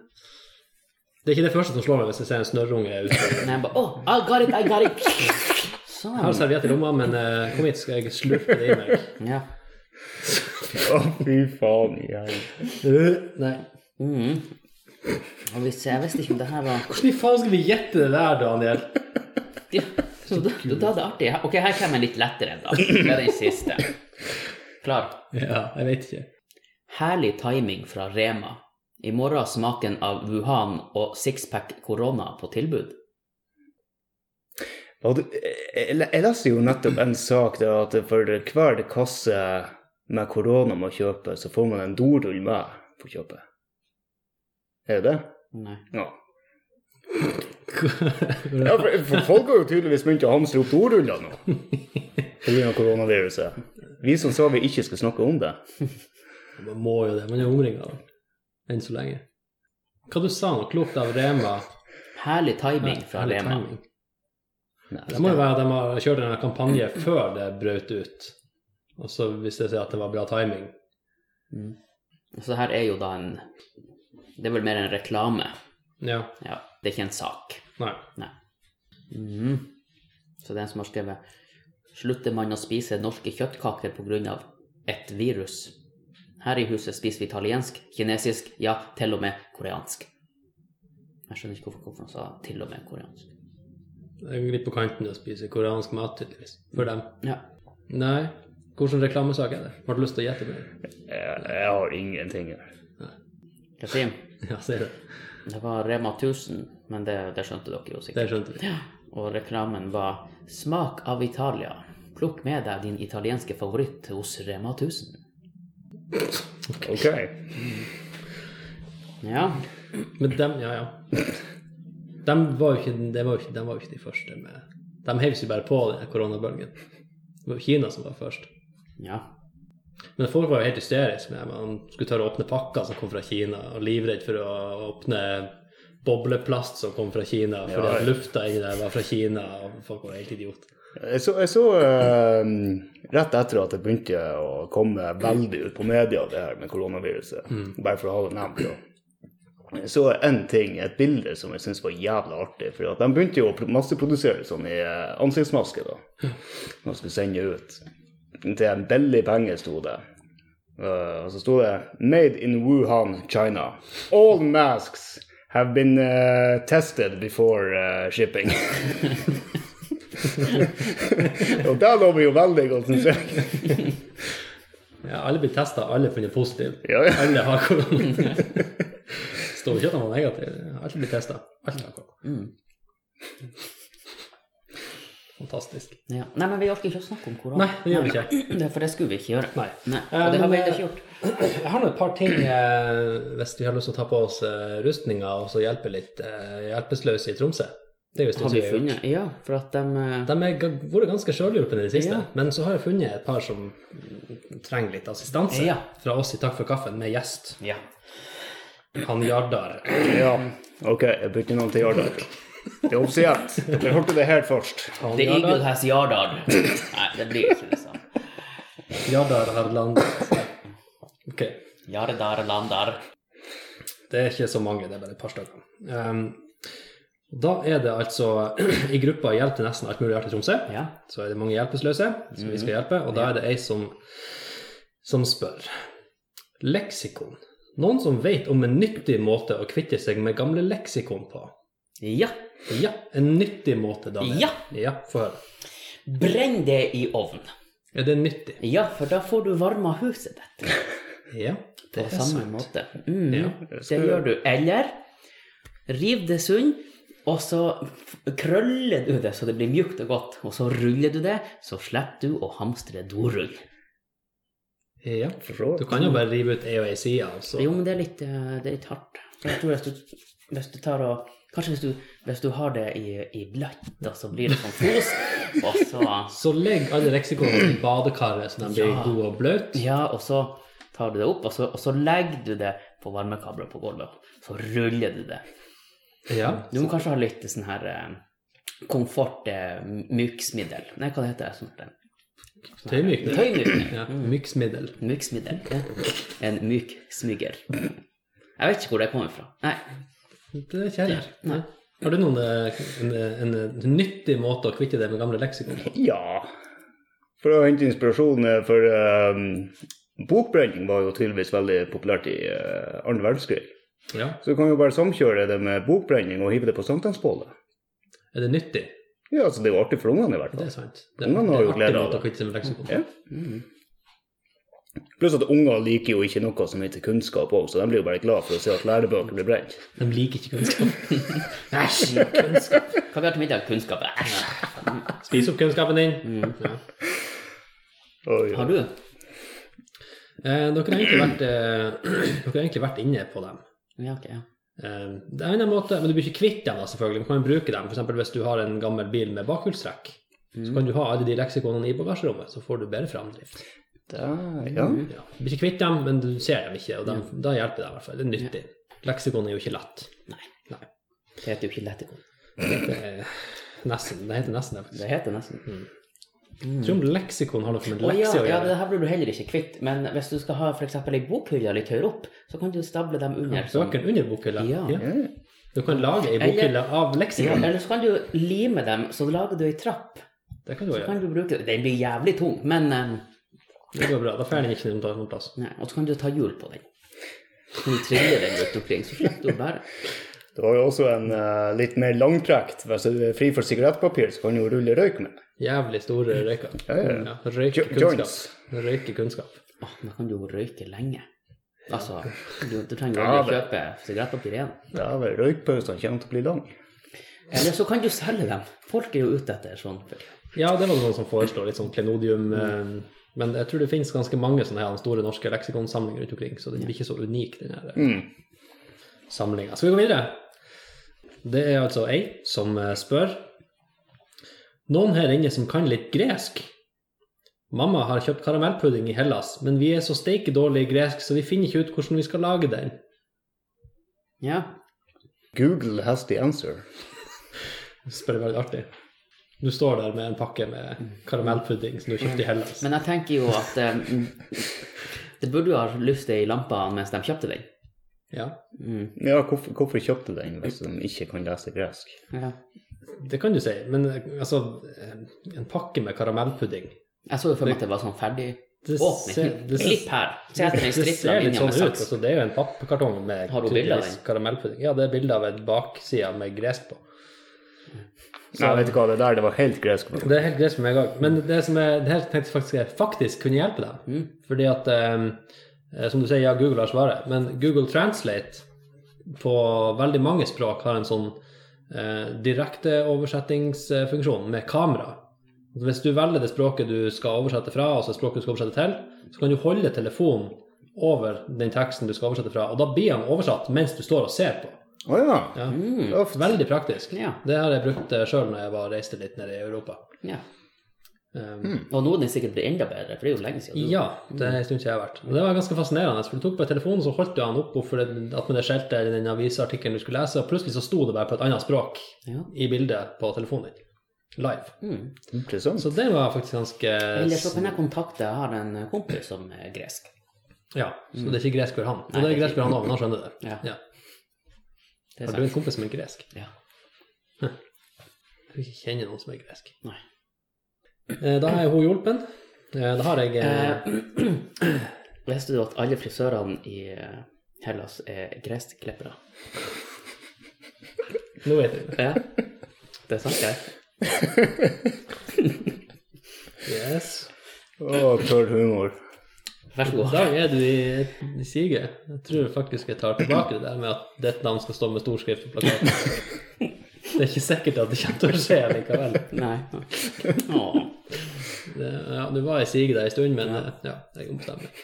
B: Det er ikke det første som slår meg hvis jeg ser en snørrunge ute.
A: Men jeg bare Å, I got it, I got it!
B: Jeg
A: Sånn.
B: har serviett i lomma, men eh, kom hit, skal jeg slurpe det i
C: *laughs*
B: meg.
A: Ja.
C: Å, fy faen. Jeg.
B: Nei.
A: Mm. Og hvis, jeg visste ikke om det her var
B: Hvordan i faen skal vi gjette det der, Daniel?
A: Ja, så da, da, da er det artig. Ok, her kommer en litt lettere *laughs* en, da. Det er den siste. Klar.
B: Ja, jeg vet ikke.
A: Herlig timing fra Rema. I morgen har smaken av Wuhan og sixpack korona på tilbud.
C: Var du- Jeg jeg leste jo nettopp en sak der at for hver kasse med korona man kjøper, så får man en dorull med på kjøpet. Er det det?
A: Nei.
C: Ja. ja for, for folk har jo tydeligvis begynt å hamstre opp doruller nå pga. koronaviruset. Vi som sa vi ikke skulle snakke om det.
B: Man må jo det. Man er omringa av det. Enn så lenge. Hva du sa nå? Klokt av Rema?
A: Herlig timing fra
B: Ærlig
A: Rema.
B: timing.
A: Nei,
B: Det må jo være at de har kjørt en kampanje før det brøt ut. Og så viste det seg at det var bra timing.
A: Så her er jo da en Det er vel mer en reklame.
B: Ja.
A: Ja, det er ikke en sak.
B: Nei.
A: Nei. Mhm. Så det er en som har skrevet Slutter man å spise norske kjøttkaker pga. et virus? Her i huset spiser vi italiensk, kinesisk, ja, til og med koreansk. Jeg skjønner ikke hvorfor, hvorfor han sa til og med koreansk.
B: Det er litt på kanten å spise koreansk mat, tydeligvis. For dem.
A: Ja.
B: Nei. Hvilken reklamesak er det? Har du lyst til å gjette
A: *laughs*
B: mer?
C: Jeg, jeg har ingenting her.
A: Kasim,
B: Ja, sier du.
A: det var Rema 1000, men det, det skjønte dere jo
B: Det
A: sikkert.
B: skjønte vi.
A: Og reklamen var 'Smak av Italia'. Plukk med deg din italienske favoritt hos Rema 1000.
C: Ok.
A: Ja.
B: Men dem, ja, ja. Dem var jo ikke, det var jo ikke, dem var jo ikke de første med De heiv seg bare på den koronabølgen. Det var jo Kina som var først.
A: ja.
B: Men folk var jo helt hysteriske med at man skulle tørre å åpne pakker som kom fra Kina, og livredd for å åpne bobleplast som kom fra Kina, fordi
C: Ja, ja.
B: at lufta inni der var fra Kina, og folk var helt idioter.
C: Jeg så, jeg så eh, rett etter at det begynte å komme veldig ut på media, det her med koronaviruset, bare for å ha det nevnt, da. Jeg så en ting, et bilde som jeg syntes var jævla artig. For at de begynte jo å pro- masseprodusere sånn i eh, ansiktsmaske, da. Man skulle sende ut. Til en billig penge sto det. Eh, og så sto det 'Made in Wuhan, China'. All masks have been eh, tested before eh, shipping. *laughs* og det lover jo veldig godt, syns jeg.
B: Ja, alle blir testa, alle er funnet positive.
C: Ja, ja.
B: Alle har korona. *laughs* Står ikke at han var negativ. Alle blir testa. Alle har korona.
A: Mm.
B: Fantastisk.
A: Ja. Nei, men vi orker ikke å snakke om korona.
B: Nei, det gjør vi ikke.
A: Det, for det skulle vi ikke gjøre.
B: Nei.
A: og det
B: Eh,
A: har vi
B: men,
A: heller ikke gjort.
B: Jeg har nå et par ting, eh, hvis vi har lyst til å ta på oss eh, rustninga og så hjelpe litt eh, hjelpeløse i Tromsø. Det er jo en
A: Har
B: stund
A: vi
B: siden jeg har gjort.
A: funnet Ja, for at de eh,
B: De har vært ganske sjølhjulpne i det siste,
A: Ja.
B: men så har jeg funnet et par som mm, trenger litt assistanse
A: Ja.
B: fra oss i Takk for kaffen, med gjest.
A: Ja.
B: Han Jardar.
C: Ja. *laughs* Ok, jeg bytter navn til Jardar. *laughs* Det er offisielt. Dere hørte det her først.
B: Han
A: The Eagle
B: Jardar,
A: has
B: *laughs*
A: Yardard. Nei, det blir ikke det sånn.
B: Jardar har landet. Ok.
A: Yardar landar.
B: Det er ikke så mange, det er bare et par stykker. Ehm, da er det altså *clears throat* i gruppa Hjelp til nesten alt mulig rart i Tromsø.
A: Ja. Mhm.
B: Så er det mange hjelpeløse som vi skal hjelpe, og da er det ei som, som spør. Leksikon. Noen som vet om en nyttig måte å kvitte seg med gamle leksikon på?
A: Ja.
B: Ja, en nyttig måte, Daniel.
A: Ja.
B: ja Få høre.
A: Brenn det i ovn.
B: Er det nyttig?
A: Ja, for da får du varma huset ditt
B: Ja, det
A: på
B: er
A: samme
B: sant.
A: måte. Mm,
B: Ja.
A: Det gjør du. Eller riv det sund, og så f- krøller du det så det blir mjukt og godt. Og så ruller du det, så slipper du å hamstre dorull.
B: Ja.
C: Forstår.
B: Du kan jo bare rive ut ei og ei side, altså.
A: Jo, men det er litt, eh, det er litt hardt. For Jeg tror hvis du, hvis du tar og Kanskje hvis du, hvis du har det i, i bløtt, da, så blir det sånn fos, og så
B: Så legg alle leksikonene i badekaret, så de blir
A: Ja.
B: gode og bløte.
A: Ja, og så tar du det opp, og så, og så legger du det på varmekabler på gulvet. Så ruller du det.
B: Ja.
A: Du må kanskje ha litt sånn her eh, komfort eh, myksmiddel. Nei, hva det heter det? Sånn, den-
B: Tøymykning.
A: Tøymykning.
B: Ja, myksmiddel.
A: Myksmiddel. Ja. En myk smyger. Jeg vet ikke hvor det kommer fra. Nei.
B: Det er kjeller.
A: Nei.
B: Har du noen, eh, en, en, en nyttig måte å kvitte deg med gamle leksikon på?
C: Ja. For å hente inspirasjon eh, for eh, Bokbrenning var jo tydeligvis veldig populært i eh, andre verdenskrig.
B: Ja.
C: Så du kan jo bare samkjøre det med bokbrenning og hive det på sankthansbålet.
B: Er det nyttig?
C: Ja, altså det er jo artig for ungene i hvert
B: Det
C: fall.
B: er sant. Det er,
C: Ungene
B: det
C: har
B: er
C: jo
B: artig
C: glede av
B: måte
C: det.
B: å kvitte seg med leksikon på.
C: Ja. Mm. Pluss at unger liker jo ikke noe som heter kunnskap òg, så de blir jo bare glad for å se at lærebøker blir brent.
B: De liker ikke kunnskap.
A: Æsj! Kunnskap. Hva vi har til middag? Kunnskap. Æsj!
B: *laughs* Spis opp kunnskapen din. Mm. Ja.
C: Oi, oi.
A: Har du?
B: Eh, dere, har egentlig vært, eh, *clears throat* dere har egentlig vært inne på dem.
A: Ja, ok. Ja.
B: Eh, det er en måte, men du blir ikke kvitt dem, da, selvfølgelig. Du kan jo bruke dem. For eksempel hvis du har en gammel bil med bakhjulstrekk,
C: Mm.
B: så kan du ha alle de leksikonene i bagasjerommet, så får du bedre framdrift.
C: Der, ja.
B: Ja. Du blir ikke kvitt dem, men du ser dem ikke, og dem, da hjelper det i hvert fall. Det er nyttig. Leksikon er jo ikke lett.
A: Nei.
B: Nei.
A: Det heter jo ikke lettekon.
B: Det er nesten, det heter nesten det, faktisk.
A: Det heter nesten
B: Jeg tror om leksikon har noe med
A: Å ja,
B: lekser
A: ja,
B: å
A: det
B: gjøre.
A: her blir du heller ikke kvitt. Men hvis du skal ha f.eks. ei bokhylle litt høyere opp, så kan du stable dem under. sånn.
B: Bøkene under bokhylla.
A: Ja.
C: Ja.
B: Du kan lage ei bokhylle
A: Ja,
B: av leksikon.
A: eller så kan du lime dem, så lager du ei trapp.
B: Det kan du
A: Så kan
B: gjøre.
A: du bruke Den blir jævlig tung, men eh,
B: Det går bra. Da får den ikke noen plass- noen plass.
A: nei, Og så kan du ta hjul på den. Så kan du trille den rundt omkring, så slipper du å bære.
C: Det var jo også en eh, litt mer langtrekt. Hvis du er fri for sigarettpapir, så kan du jo rulle røyk med.
B: Jævlig store røyker.
C: Ja, ja, ja.
B: Røyke
C: Jo-
B: kunnskap.
C: joints.
B: Røyke kunnskap.
A: Åh, da kan du jo røyke lenge. Altså, du, du trenger jo
C: Ja,
A: aldri kjøpe sigarettpapir igjen.
C: Ja, vel, røykpausene kommer til å bli lange.
A: Eller så kan du selge dem. Folk er jo ute etter sånn.
B: Ja, det var noen som foreslo litt sånn klenodium. eh, Men jeg tror det finnes ganske mange sånne her store norske leksikonsamlinger rundt omkring, så den blir ikke så unik, den her samlinga. Skal vi gå videre? Det er altså ei som eh, spør Noen her inne som kan litt gresk? Mamma har kjøpt karamellpudding i Hellas, men vi er så steike dårlige i gresk, så vi finner ikke ut hvordan vi skal lage den.
A: Ja.
C: Google has the answer.
B: Jeg Spør veldig artig. Du står der med en pakke med karamellpudding som du kjøpte i Hellas.
A: Men jeg tenker jo at eh, det burde jo ha lyst til i lampa mens de kjøpte den.
B: Ja.
A: Mm.
C: Ja, hvorfor, hvorfor kjøpte den hvis de ikke kan lese gresk?
A: Ja.
B: Det kan du si, men eh, altså eh, En pakke med karamellpudding
A: Jeg så jo for meg at det var sånn ferdig
B: Det ser-
A: åpning.
B: det ser-
A: Klipp her. Se etter den
B: *laughs* Det
A: stripla
B: ser litt
A: linja
B: sånn
A: med
B: ut.
A: saks.
B: Altså, det er jo en pappkartong med
A: Har du bilder av
B: tydeligvis
A: den?
B: karamellpudding. Ja, det er bilde av en bakside med gresk på.
C: Nei, vet du hva, det der det var helt gresk.
B: Det er helt greit for meg òg. Men det som er, det her tenkte jeg faktisk jeg faktisk kunne hjelpe deg.
A: Mm.
B: Fordi at eh, Som du sier, ja, Google har svaret, men Google Translate på veldig mange språk har en sånn eh, direkte oversettingsfunksjon med kamera. Hvis du velger det språket du skal oversette fra, altså språket du skal oversette til, så kan du holde telefonen over den teksten du skal oversette fra, og da blir han oversatt mens du står og ser på.
C: Å ja.
B: Ja.
A: Mm.
C: Uff.
B: Veldig praktisk.
A: Ja.
B: Det har jeg brukt sjøl når jeg var reiste litt nede i Europa.
A: ja.
B: Um,
A: Og nå er den sikkert blitt enda bedre, for det er jo lenge siden.
B: Ja, det er en stund siden jeg har vært. Og det var ganske fascinerende. for Du tok på telefonen, så holdt du han opp for at med det skjeltet eller den avisartikkelen du skulle lese, og plutselig så sto det bare på et annet språk
A: Ja.
B: i bildet på telefonen din. Live.
A: Mm.
C: Interessant.
B: Så det var faktisk ganske
A: Eller så kan jeg kontakte Jeg har en kompis som er gresk.
B: Ja, så det er ikke gresk for han. Og
A: Nei,
B: det
A: det
B: er
A: er
B: gresk for han òg, men han skjønner det.
A: Ja.
B: Ja.
A: Det er
B: Har du en
A: sant.
B: kompis som er gresk?
A: Ja.
B: Jeg tror ikke jeg kjenner noen som er gresk.
A: Nei.
B: Eh, Da har jeg hun hjulpen. Eh, Da har jeg eh,
A: Eh, *clears throat* Visste du at alle frisørene i eh, Hellas er
B: *laughs*
A: gressklippere?
B: Nå vet jeg det.
A: Ja. Det er sant, det.
B: Yes.
C: Å, tørr humor.
A: Vær så
B: I
A: god.
B: dag er du i, i siget. Jeg tror faktisk jeg tar tilbake det der med at ditt navn skal stå med stor skrift på plakaten. Det er ikke sikkert at det kommer til å skje likevel.
A: Nei. Åh.
B: Det, ja, du var i siget der en stund, men eh, ja, jeg ombestemmer meg.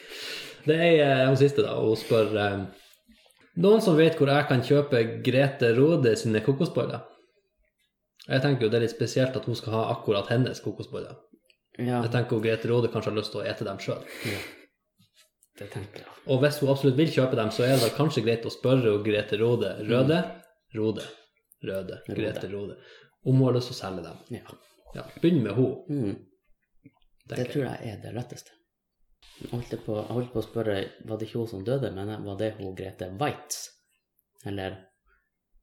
B: Det er eh, hun siste, da, og hun spør eh, Noen som vet hvor jeg kan kjøpe Grete Rode sine kokosboller? Jeg tenker jo det er litt spesielt at hun skal ha akkurat hennes kokosboller.
A: Ja,
B: Jeg tenker jo Grete Rode kanskje har lyst til å ete dem sjøl.
A: det tenker jeg.
B: Og hvis hun absolutt vil kjøpe dem, så er det vel kanskje greit å spørre hun Grete Rode Røde Rode. Røde. Grete Rode. Om hun har lyst til å selge dem.
A: Ja.
B: Ja, Begynn med henne,
A: Mm. Det
B: tenker jeg.
A: tror jeg er det letteste. Jeg holdt på, jeg holdt på å spørre var det ikke hun som døde, men var det hun Grete Waitz? Eller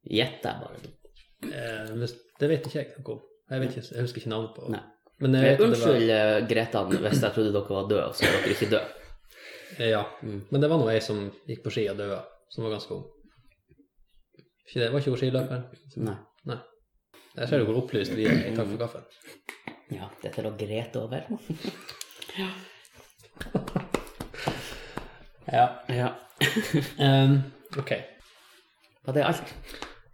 A: gjetter jeg bare?
B: Eh, hvis, det vet ikke jeg noe om. Jeg, vet ikke, jeg husker ikke navnet på
A: Nei.
B: Men jeg vet at det var-
A: Unnskyld, eh, Gretan, hvis jeg trodde dere var døde, og så er dere ikke døde.
B: Eh, Ja.
A: Mm.
B: Men det var nå ei som gikk på ski og døde, som var ganske ung. Ikke det, Var ikke hun skiløper?
A: Nei.
B: Nei. Jeg ser jo hvor opplyst vi er. i Takk for kaffen.
A: Ja, det er til å grete over.
B: Ja.
A: Ja.
B: Ehm, ok.
A: Var det alt?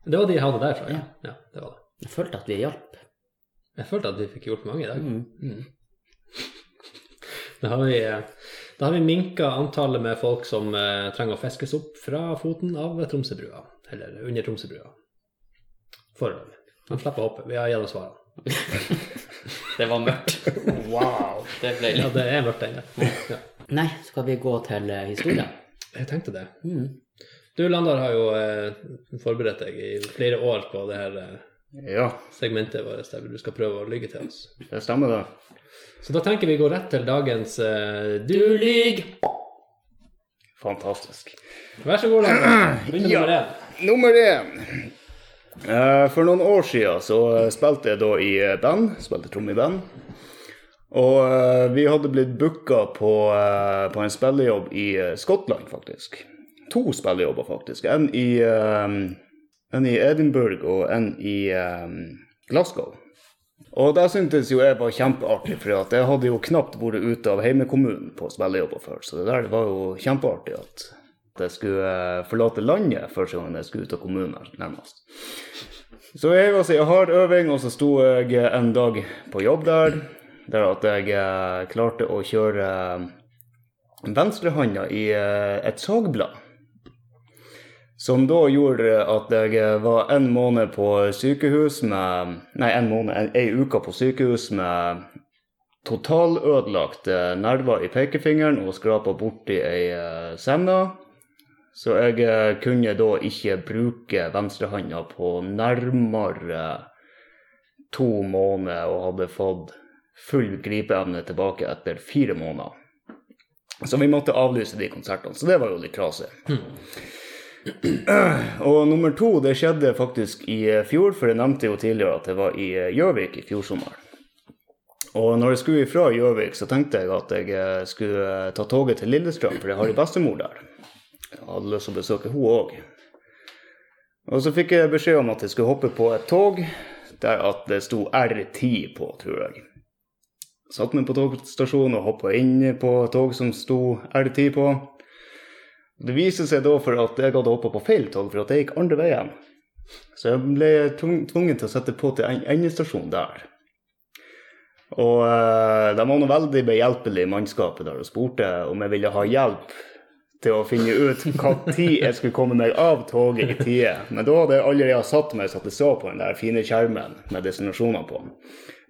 B: Det var de jeg hadde derfra, ja. ja det var det.
A: Jeg følte at vi hjalp.
B: Jeg følte at vi fikk gjort mange i dag.
A: Mm.
B: Mm. Da har vi, eh, da har vi minka antallet med folk som eh, trenger å fiskes opp fra foten av Tromsøbrua, eller under Tromsøbrua. Foreløpig. De slipper å hoppe. Vi har gitt oss svarene.
A: Det var *laughs* mørkt.
C: Wow.
A: Det ble
B: Ja, det er mørkt ennå. Ja.
A: Nei, skal vi gå til eh, historien?
B: Jeg tenkte det.
A: Mm.
B: Du, Landar, har jo eh, forberedt deg i flere år på det her eh,
C: Ja,
B: segmentet vårt der du skal prøve å lyge til oss.
C: det stemmer, det.
B: Så da tenker vi går rett til dagens eh, Du lyg!
C: Fantastisk.
B: Vær så god, Landar. Begynn med
C: Ja.
B: nummer én.
C: Nummer én. Eh, For noen år siden så eh, spilte jeg da i eh, band, spilte tromme i band. Og eh, vi hadde blitt booka på, eh, på en spillejobb i eh, Skottland, faktisk. To spillejobber, faktisk. En i, eh, en i Edinburgh og en i eh, Glasgow. Og det syntes jo jeg var kjempeartig, for at jeg hadde jo knapt vært ute av heimekommunen på spillejobber før, så det der var jo kjempeartig at jeg skulle eh, forlate landet første gangen jeg skulle ut av kommunen, nærmest. Så jeg var så jeg har øving, og så sto jeg eh, en dag på jobb der, der at jeg eh, klarte å kjøre eh, venstrehanda i eh, et sagblad. Som da gjorde at jeg var en måned på sykehus med Nei, en måned, en, ei uke på sykehus med totalødelagte nerver i pekefingeren og skrapa borti ei eh, senne. Så jeg eh, kunne da ikke bruke venstrehanda på nærmere to måneder og hadde fått full gripeevne tilbake etter fire måneder. Så vi måtte avlyse de konsertene, så det var jo litt trasig. Og nummer to, det skjedde faktisk i eh, fjor, for jeg nevnte jo tidligere at jeg var i eh, Gjøvik i fjor sommer. Og når jeg skulle ifra Gjøvik, så tenkte jeg at jeg eh, skulle eh, ta toget til Lillestrøm, for jeg har en bestemor der. Jeg hadde lyst til å besøke hun òg. Og så fikk jeg beskjed om at jeg skulle hoppe på et tog der at det sto R10 på, tror jeg. Satt meg på togstasjonen og hoppa inn på et tog som sto R10 på. Det viser seg da for at jeg hadde hoppa på feil tog, for at jeg gikk andre veien. Så jeg ble tvung- tvungen til å sette på til en endestasjon der. Og eh, de var nå veldig behjelpelige, mannskapet der, og spurte om jeg ville ha hjelp til å finne ut hva tid jeg skulle komme meg av toget i tide. Men da hadde jeg allerede satt meg så at jeg så på den der fine skjermen med destinasjoner på.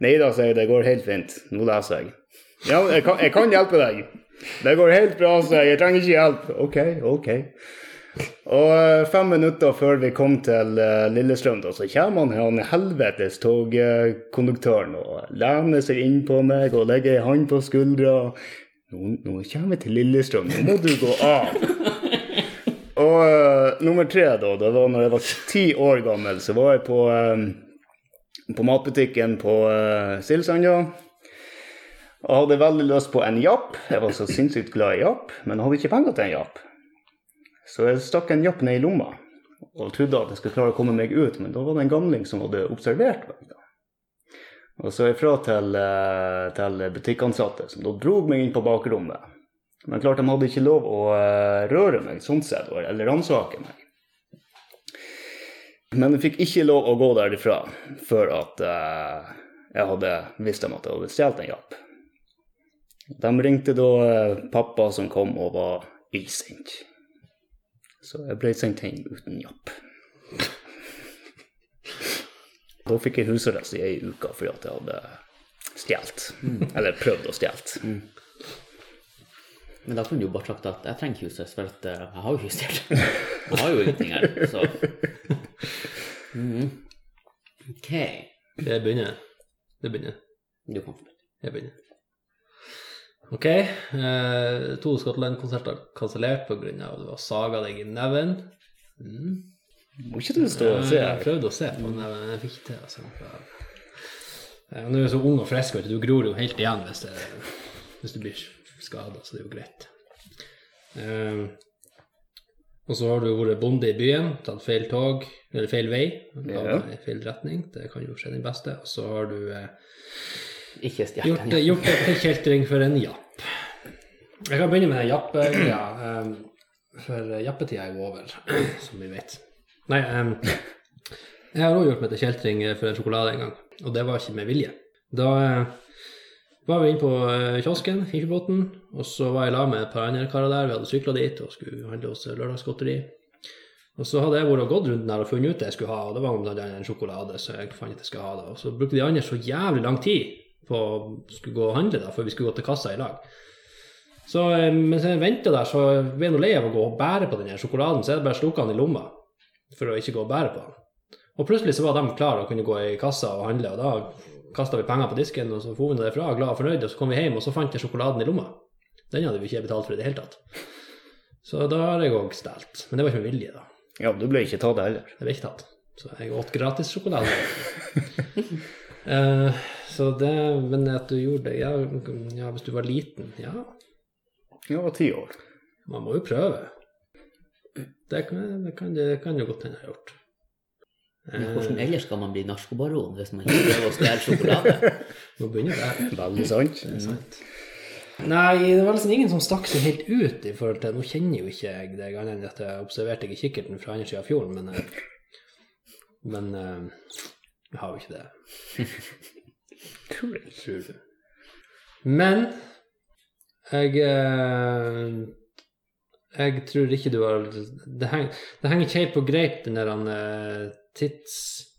C: Nei da, sier jeg, det går helt fint. Nå leser jeg. Ja, jeg kan, jeg kan hjelpe deg. Det går helt bra, sier jeg. Jeg trenger ikke hjelp. OK, OK. Og eh, fem minutter før vi kom til eh, Lillestrøm, da, så kommer han han helvetes togkonduktøren og lener seg inn på meg og legger en hånd på skuldra. Nå, nå kommer vi til Lillestrøm, nå må du gå av. Og eh, nummer tre, da, det var når jeg var ti år gammel, så var jeg på, eh, på matbutikken på uh, Silsanda. Og hadde veldig lyst på en japp. Jeg var så sinnssykt glad i japp, men hadde ikke penger til en japp. Så jeg stakk en japp ned i lomma og trodde at jeg skulle klare å komme meg ut, men da var det en gamling som hadde observert meg. da. Og så ifra til, eh, til butikkansatte, som da drog meg inn på bakrommet. Men klart de hadde ikke lov å eh, røre meg sånn sett, eller ransake meg. Men jeg fikk ikke lov å gå derifra før at eh, jeg hadde visst dem at jeg hadde stjålet en japp. De ringte da eh, pappa som kom og var illsint. Så jeg ble sendt hjem uten jobb. *laughs* Da fikk jeg husarrest i ei uke fordi at jeg hadde stjålet. Eller prøvd å stjele.
A: Men da kunne du jo bare sagt at jeg trenger ikke husarrest, for at eh, jeg har jo husarrest. *laughs* Jeg har jo ingenting her,
B: *laughs*
A: så Mhm. OK.
B: Det begynner. Det begynner.
A: Du kan få
B: Jeg begynner. Ok. eh, to Skottland-konserter kansellert pga. at du har saga deg i neven. Mm.
C: Må ikke du stå og se
B: Jeg
C: her?
B: prøvde å se på neven, men jeg fikk ikke til. Altså. Eh, Nå er du så ung og frisk, vet du. Du gror jo helt igjen hvis, det, hvis du blir skada, så det er jo greit. Eh, og så har du vært bonde i byen, tatt feil tog, eller feil vei,
C: Ja.
B: i feil retning. Det kan jo skje den beste. Og så har du eh,
A: Ikke stjele
B: Gjort, eh,
A: den.
B: gjort det til kjeltring for en japp. Jeg kan begynne med den jappe-greia, em, for jappetida er jo over, som vi vet. Nei, em, jeg har òg gjort meg til kjeltring for en sjokolade en gang, og det var ikke med vilje. Da eh, var vi inne på eh, kiosken, Finkjebotn, og så var jeg i lag med et par andre karer der. Vi hadde sykla dit og skulle handle hos Lørdagsgodteri. Og så hadde jeg vært og gått rundt den her og funnet ut det jeg skulle ha, og det var blant annet en sjokolade, så jeg fant at jeg skulle ha det. Og så brukte de andre så jævlig lang tid på å skulle gå og handle, da, før vi skulle gå til kassa i lag. Så eh, mens jeg venta der, så ble jeg nå lei av å gå og bære på den her sjokoladen, så jeg bare slukka den i lomma for å ikke gå og bære på den. Og plutselig så var de klare og kunne gå i kassa og handle, og da kasta vi penger på disken, og så for vi nå derfra glad og fornøyd, og så kom vi hjem, og så fant jeg sjokoladen i lomma. Den hadde vi ikke betalt for i det hele tatt. Så da har jeg òg stjålet. Men det var ikke med vilje, da.
C: Ja, du ble ikke tatt heller.
B: Det ble ikke tatt. Så jeg åt gratis sjokolade. *laughs* Eh, så det, men at du gjorde det ja, ja, hvis du var liten Ja,
C: Jeg var ti år.
B: man må jo prøve. Det kan, det kan, det kan jo godt hende jeg har gjort.
A: Men hvordan ellers skal man bli narkobaron hvis man ikke prøver å stjele
B: *laughs*
A: sjokolade?
B: Nå begynner det.
C: Veldig sant.
B: Mm. Nei, det var liksom ingen som stakk seg helt ut i forhold til Nå kjenner jo ikke jeg deg, annet enn at jeg observerte deg i kikkerten fra andre sida av fjorden, men eh, Men eh, jeg har jo ikke det. Tror du. Men jeg eh, Jeg tror ikke du har Det, heng, det henger ikke helt på greip, den der eh, tids...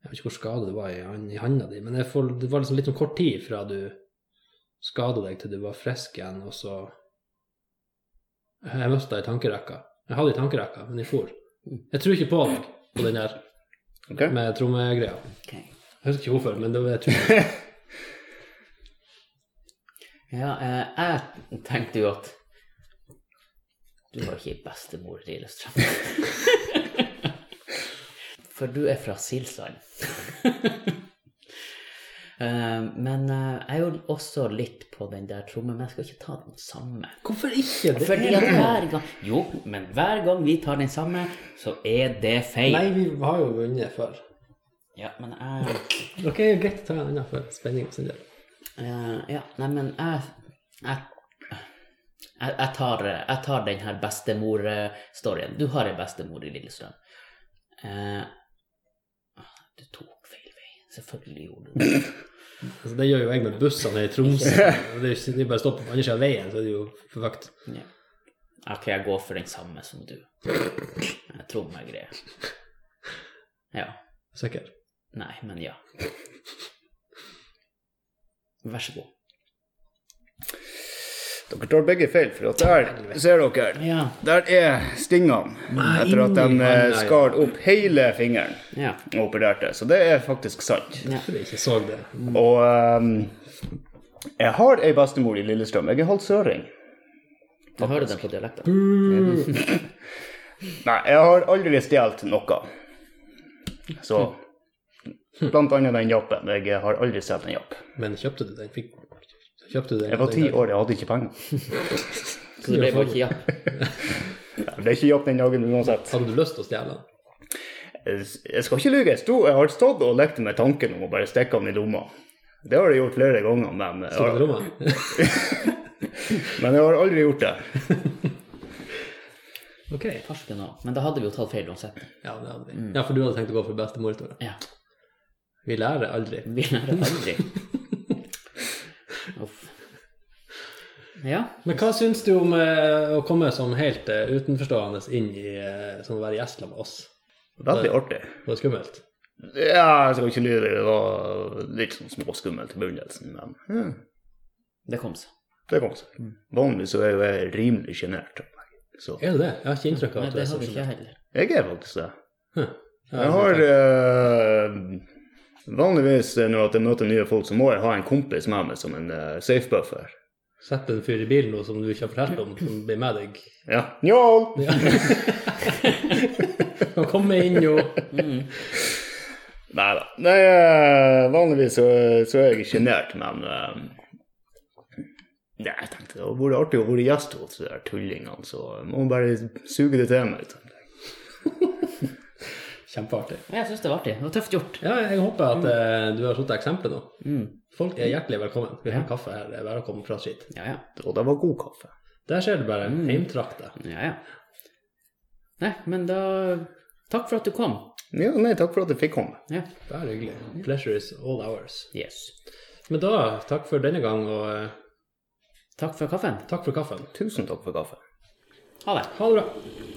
B: Jeg vet ikke hvor skade det var i, han- i handa di, men jeg får, det var liksom litt sånn kort tid fra du skada deg til du var frisk igjen, og så Jeg mista i tankerekka. Jeg hadde i tankerekka, men jeg for. Jeg tror ikke på deg på den der
C: Ok?
B: med trommegreia.
A: Ok.
B: Jeg husker ikke hvorfor, men det var jeg tror
C: *laughs*
A: Ja, eh, jeg tenkte jo at du har ikke bestemor i Lillestrøm.
B: *laughs*
A: For du er fra Silsand. *laughs* Eh, Men eh, jeg er jo også litt på den der trommen, men jeg skal ikke ta den samme.
B: Hvorfor ikke? Det
A: Fordi
B: er
A: at hver gang Jo, men hver gang vi tar den samme, så er det feil.
B: Nei, vi har jo vunnet før.
A: Ja, men jeg
B: Ok, greit å ta en annen for spenning og sin del.
A: eh, Ja, nei, men jeg Jeg, jeg, jeg tar, jeg tar den her bestemor-storyen. Du har ei bestemor i Lillestrøm. Eh, du tok feil vei. Selvfølgelig gjorde du det.
B: Altså, det gjør jo jeg med bussene i Tromsø. Det er jo ikke- de bare stopper på andre siden av veien, så er det jo fucked.
A: Ja. Ok, jeg går for den samme som du. Jeg tror meg greier. Ja.
B: Sikker.
A: Nei, men ja. Vær så god.
C: Dere tar begge feil, for at der ser dere.
A: Ja.
C: Der er stingene etter at de eh, skar opp hele fingeren
A: Ja.
C: og opererte. Så det er faktisk sant.
B: Hvorfor jeg ikke så det?
C: Og ehm, jeg har ei bestemor i Lillestrøm. Jeg er halvt søring.
A: Du hører den på dialekten.
B: Buh!
C: Nei, jeg har aldri stjålet noe. Så Blant annet den jappen. Jeg har aldri stjålet en japp.
B: Men kjøpte du den? Fikk, kjøpte du den?
C: Jeg var ti
B: den
C: år, jeg hadde ikke penger.
A: Så det ble bare ikke ja.
C: Det er ikke japp den dagen uansett.
B: Hadde du lyst til å stjele den?
C: Jeg skal ikke lyve. Jeg, sto, jeg har stått og lekt med tanken om å bare stikke den i lomma. Det har jeg gjort flere ganger, men jeg
B: Så
C: har,
B: det rommet? *laughs*
C: men jeg har aldri gjort det.
B: Ok.
A: Farsken også. Men da hadde vi jo tatt feil uansett.
B: Ja, det hadde vi. Ja, for du hadde tenkt å gå for bestemor, tror jeg.
A: Ja.
B: Vi lærer aldri.
A: Vi lærer aldri. Uff. Ja.
B: Men hva syns du om eh, å komme som helt eh, utenforstående inn i eh, Som å være gjest med oss?
C: Veldig artig.
B: Var det skummelt?
C: Ja, jeg skal ikke lyve. Det var litt sånn småskummelt i begynnelsen, men hmm,
A: Det kom seg.
C: det kom seg.
B: Mm.
C: Vanligvis så er jo jeg rimelig sjenert. Så
B: Er det det? Jeg har ikke inntrykk av
A: Nei,
B: at du
A: det
B: er
A: hadde
B: så
A: ikke jeg
B: sjenert.
A: heller.
C: jeg er faktisk det.
B: Hm. Ja,
C: Jeg har eh, Vanligvis når at jeg møter nye folk, så må jeg ha en kompis med meg som en eh, safe buffer.
B: Sett en fyr i bilen nå som du ikke har fortalt om, som blir med deg.
C: Ja. Njål!
B: *laughs* Ja. Kan komme inn og
C: Nei da. Nei, eh, vanligvis så, så er jeg sjenert, men eh, Nei, jeg tenkte det hadde vært artig å være gjest hos de der tullingene, så jeg må bare suge det til meg. tenkte jeg.
B: Kjempeartig.
A: Men jeg syns det var artig. Det var tøft gjort.
B: Ja, jeg håper at eh, du har satt eksempelet nå.
A: Mm.
B: Folk er hjertelig velkommen. Vi har kaffe her. Det er bare å komme fra skitt.
A: Ja, ja.
C: Og det var god kaffe.
B: Der ser du bare.
A: Mm.
B: Heimtrakta.
A: Ja, ja. Nei, men da Takk for at du kom.
C: Ja, nei, takk for at jeg fikk komme.
A: Ja.
B: Bare hyggelig. Pleasure is all ours.
A: Yes.
B: Men da, takk for denne gang, og eh,
A: Takk for kaffen.
B: takk for kaffen.
C: Tusen takk for kaffe.
A: Ha det.
B: Ha det bra.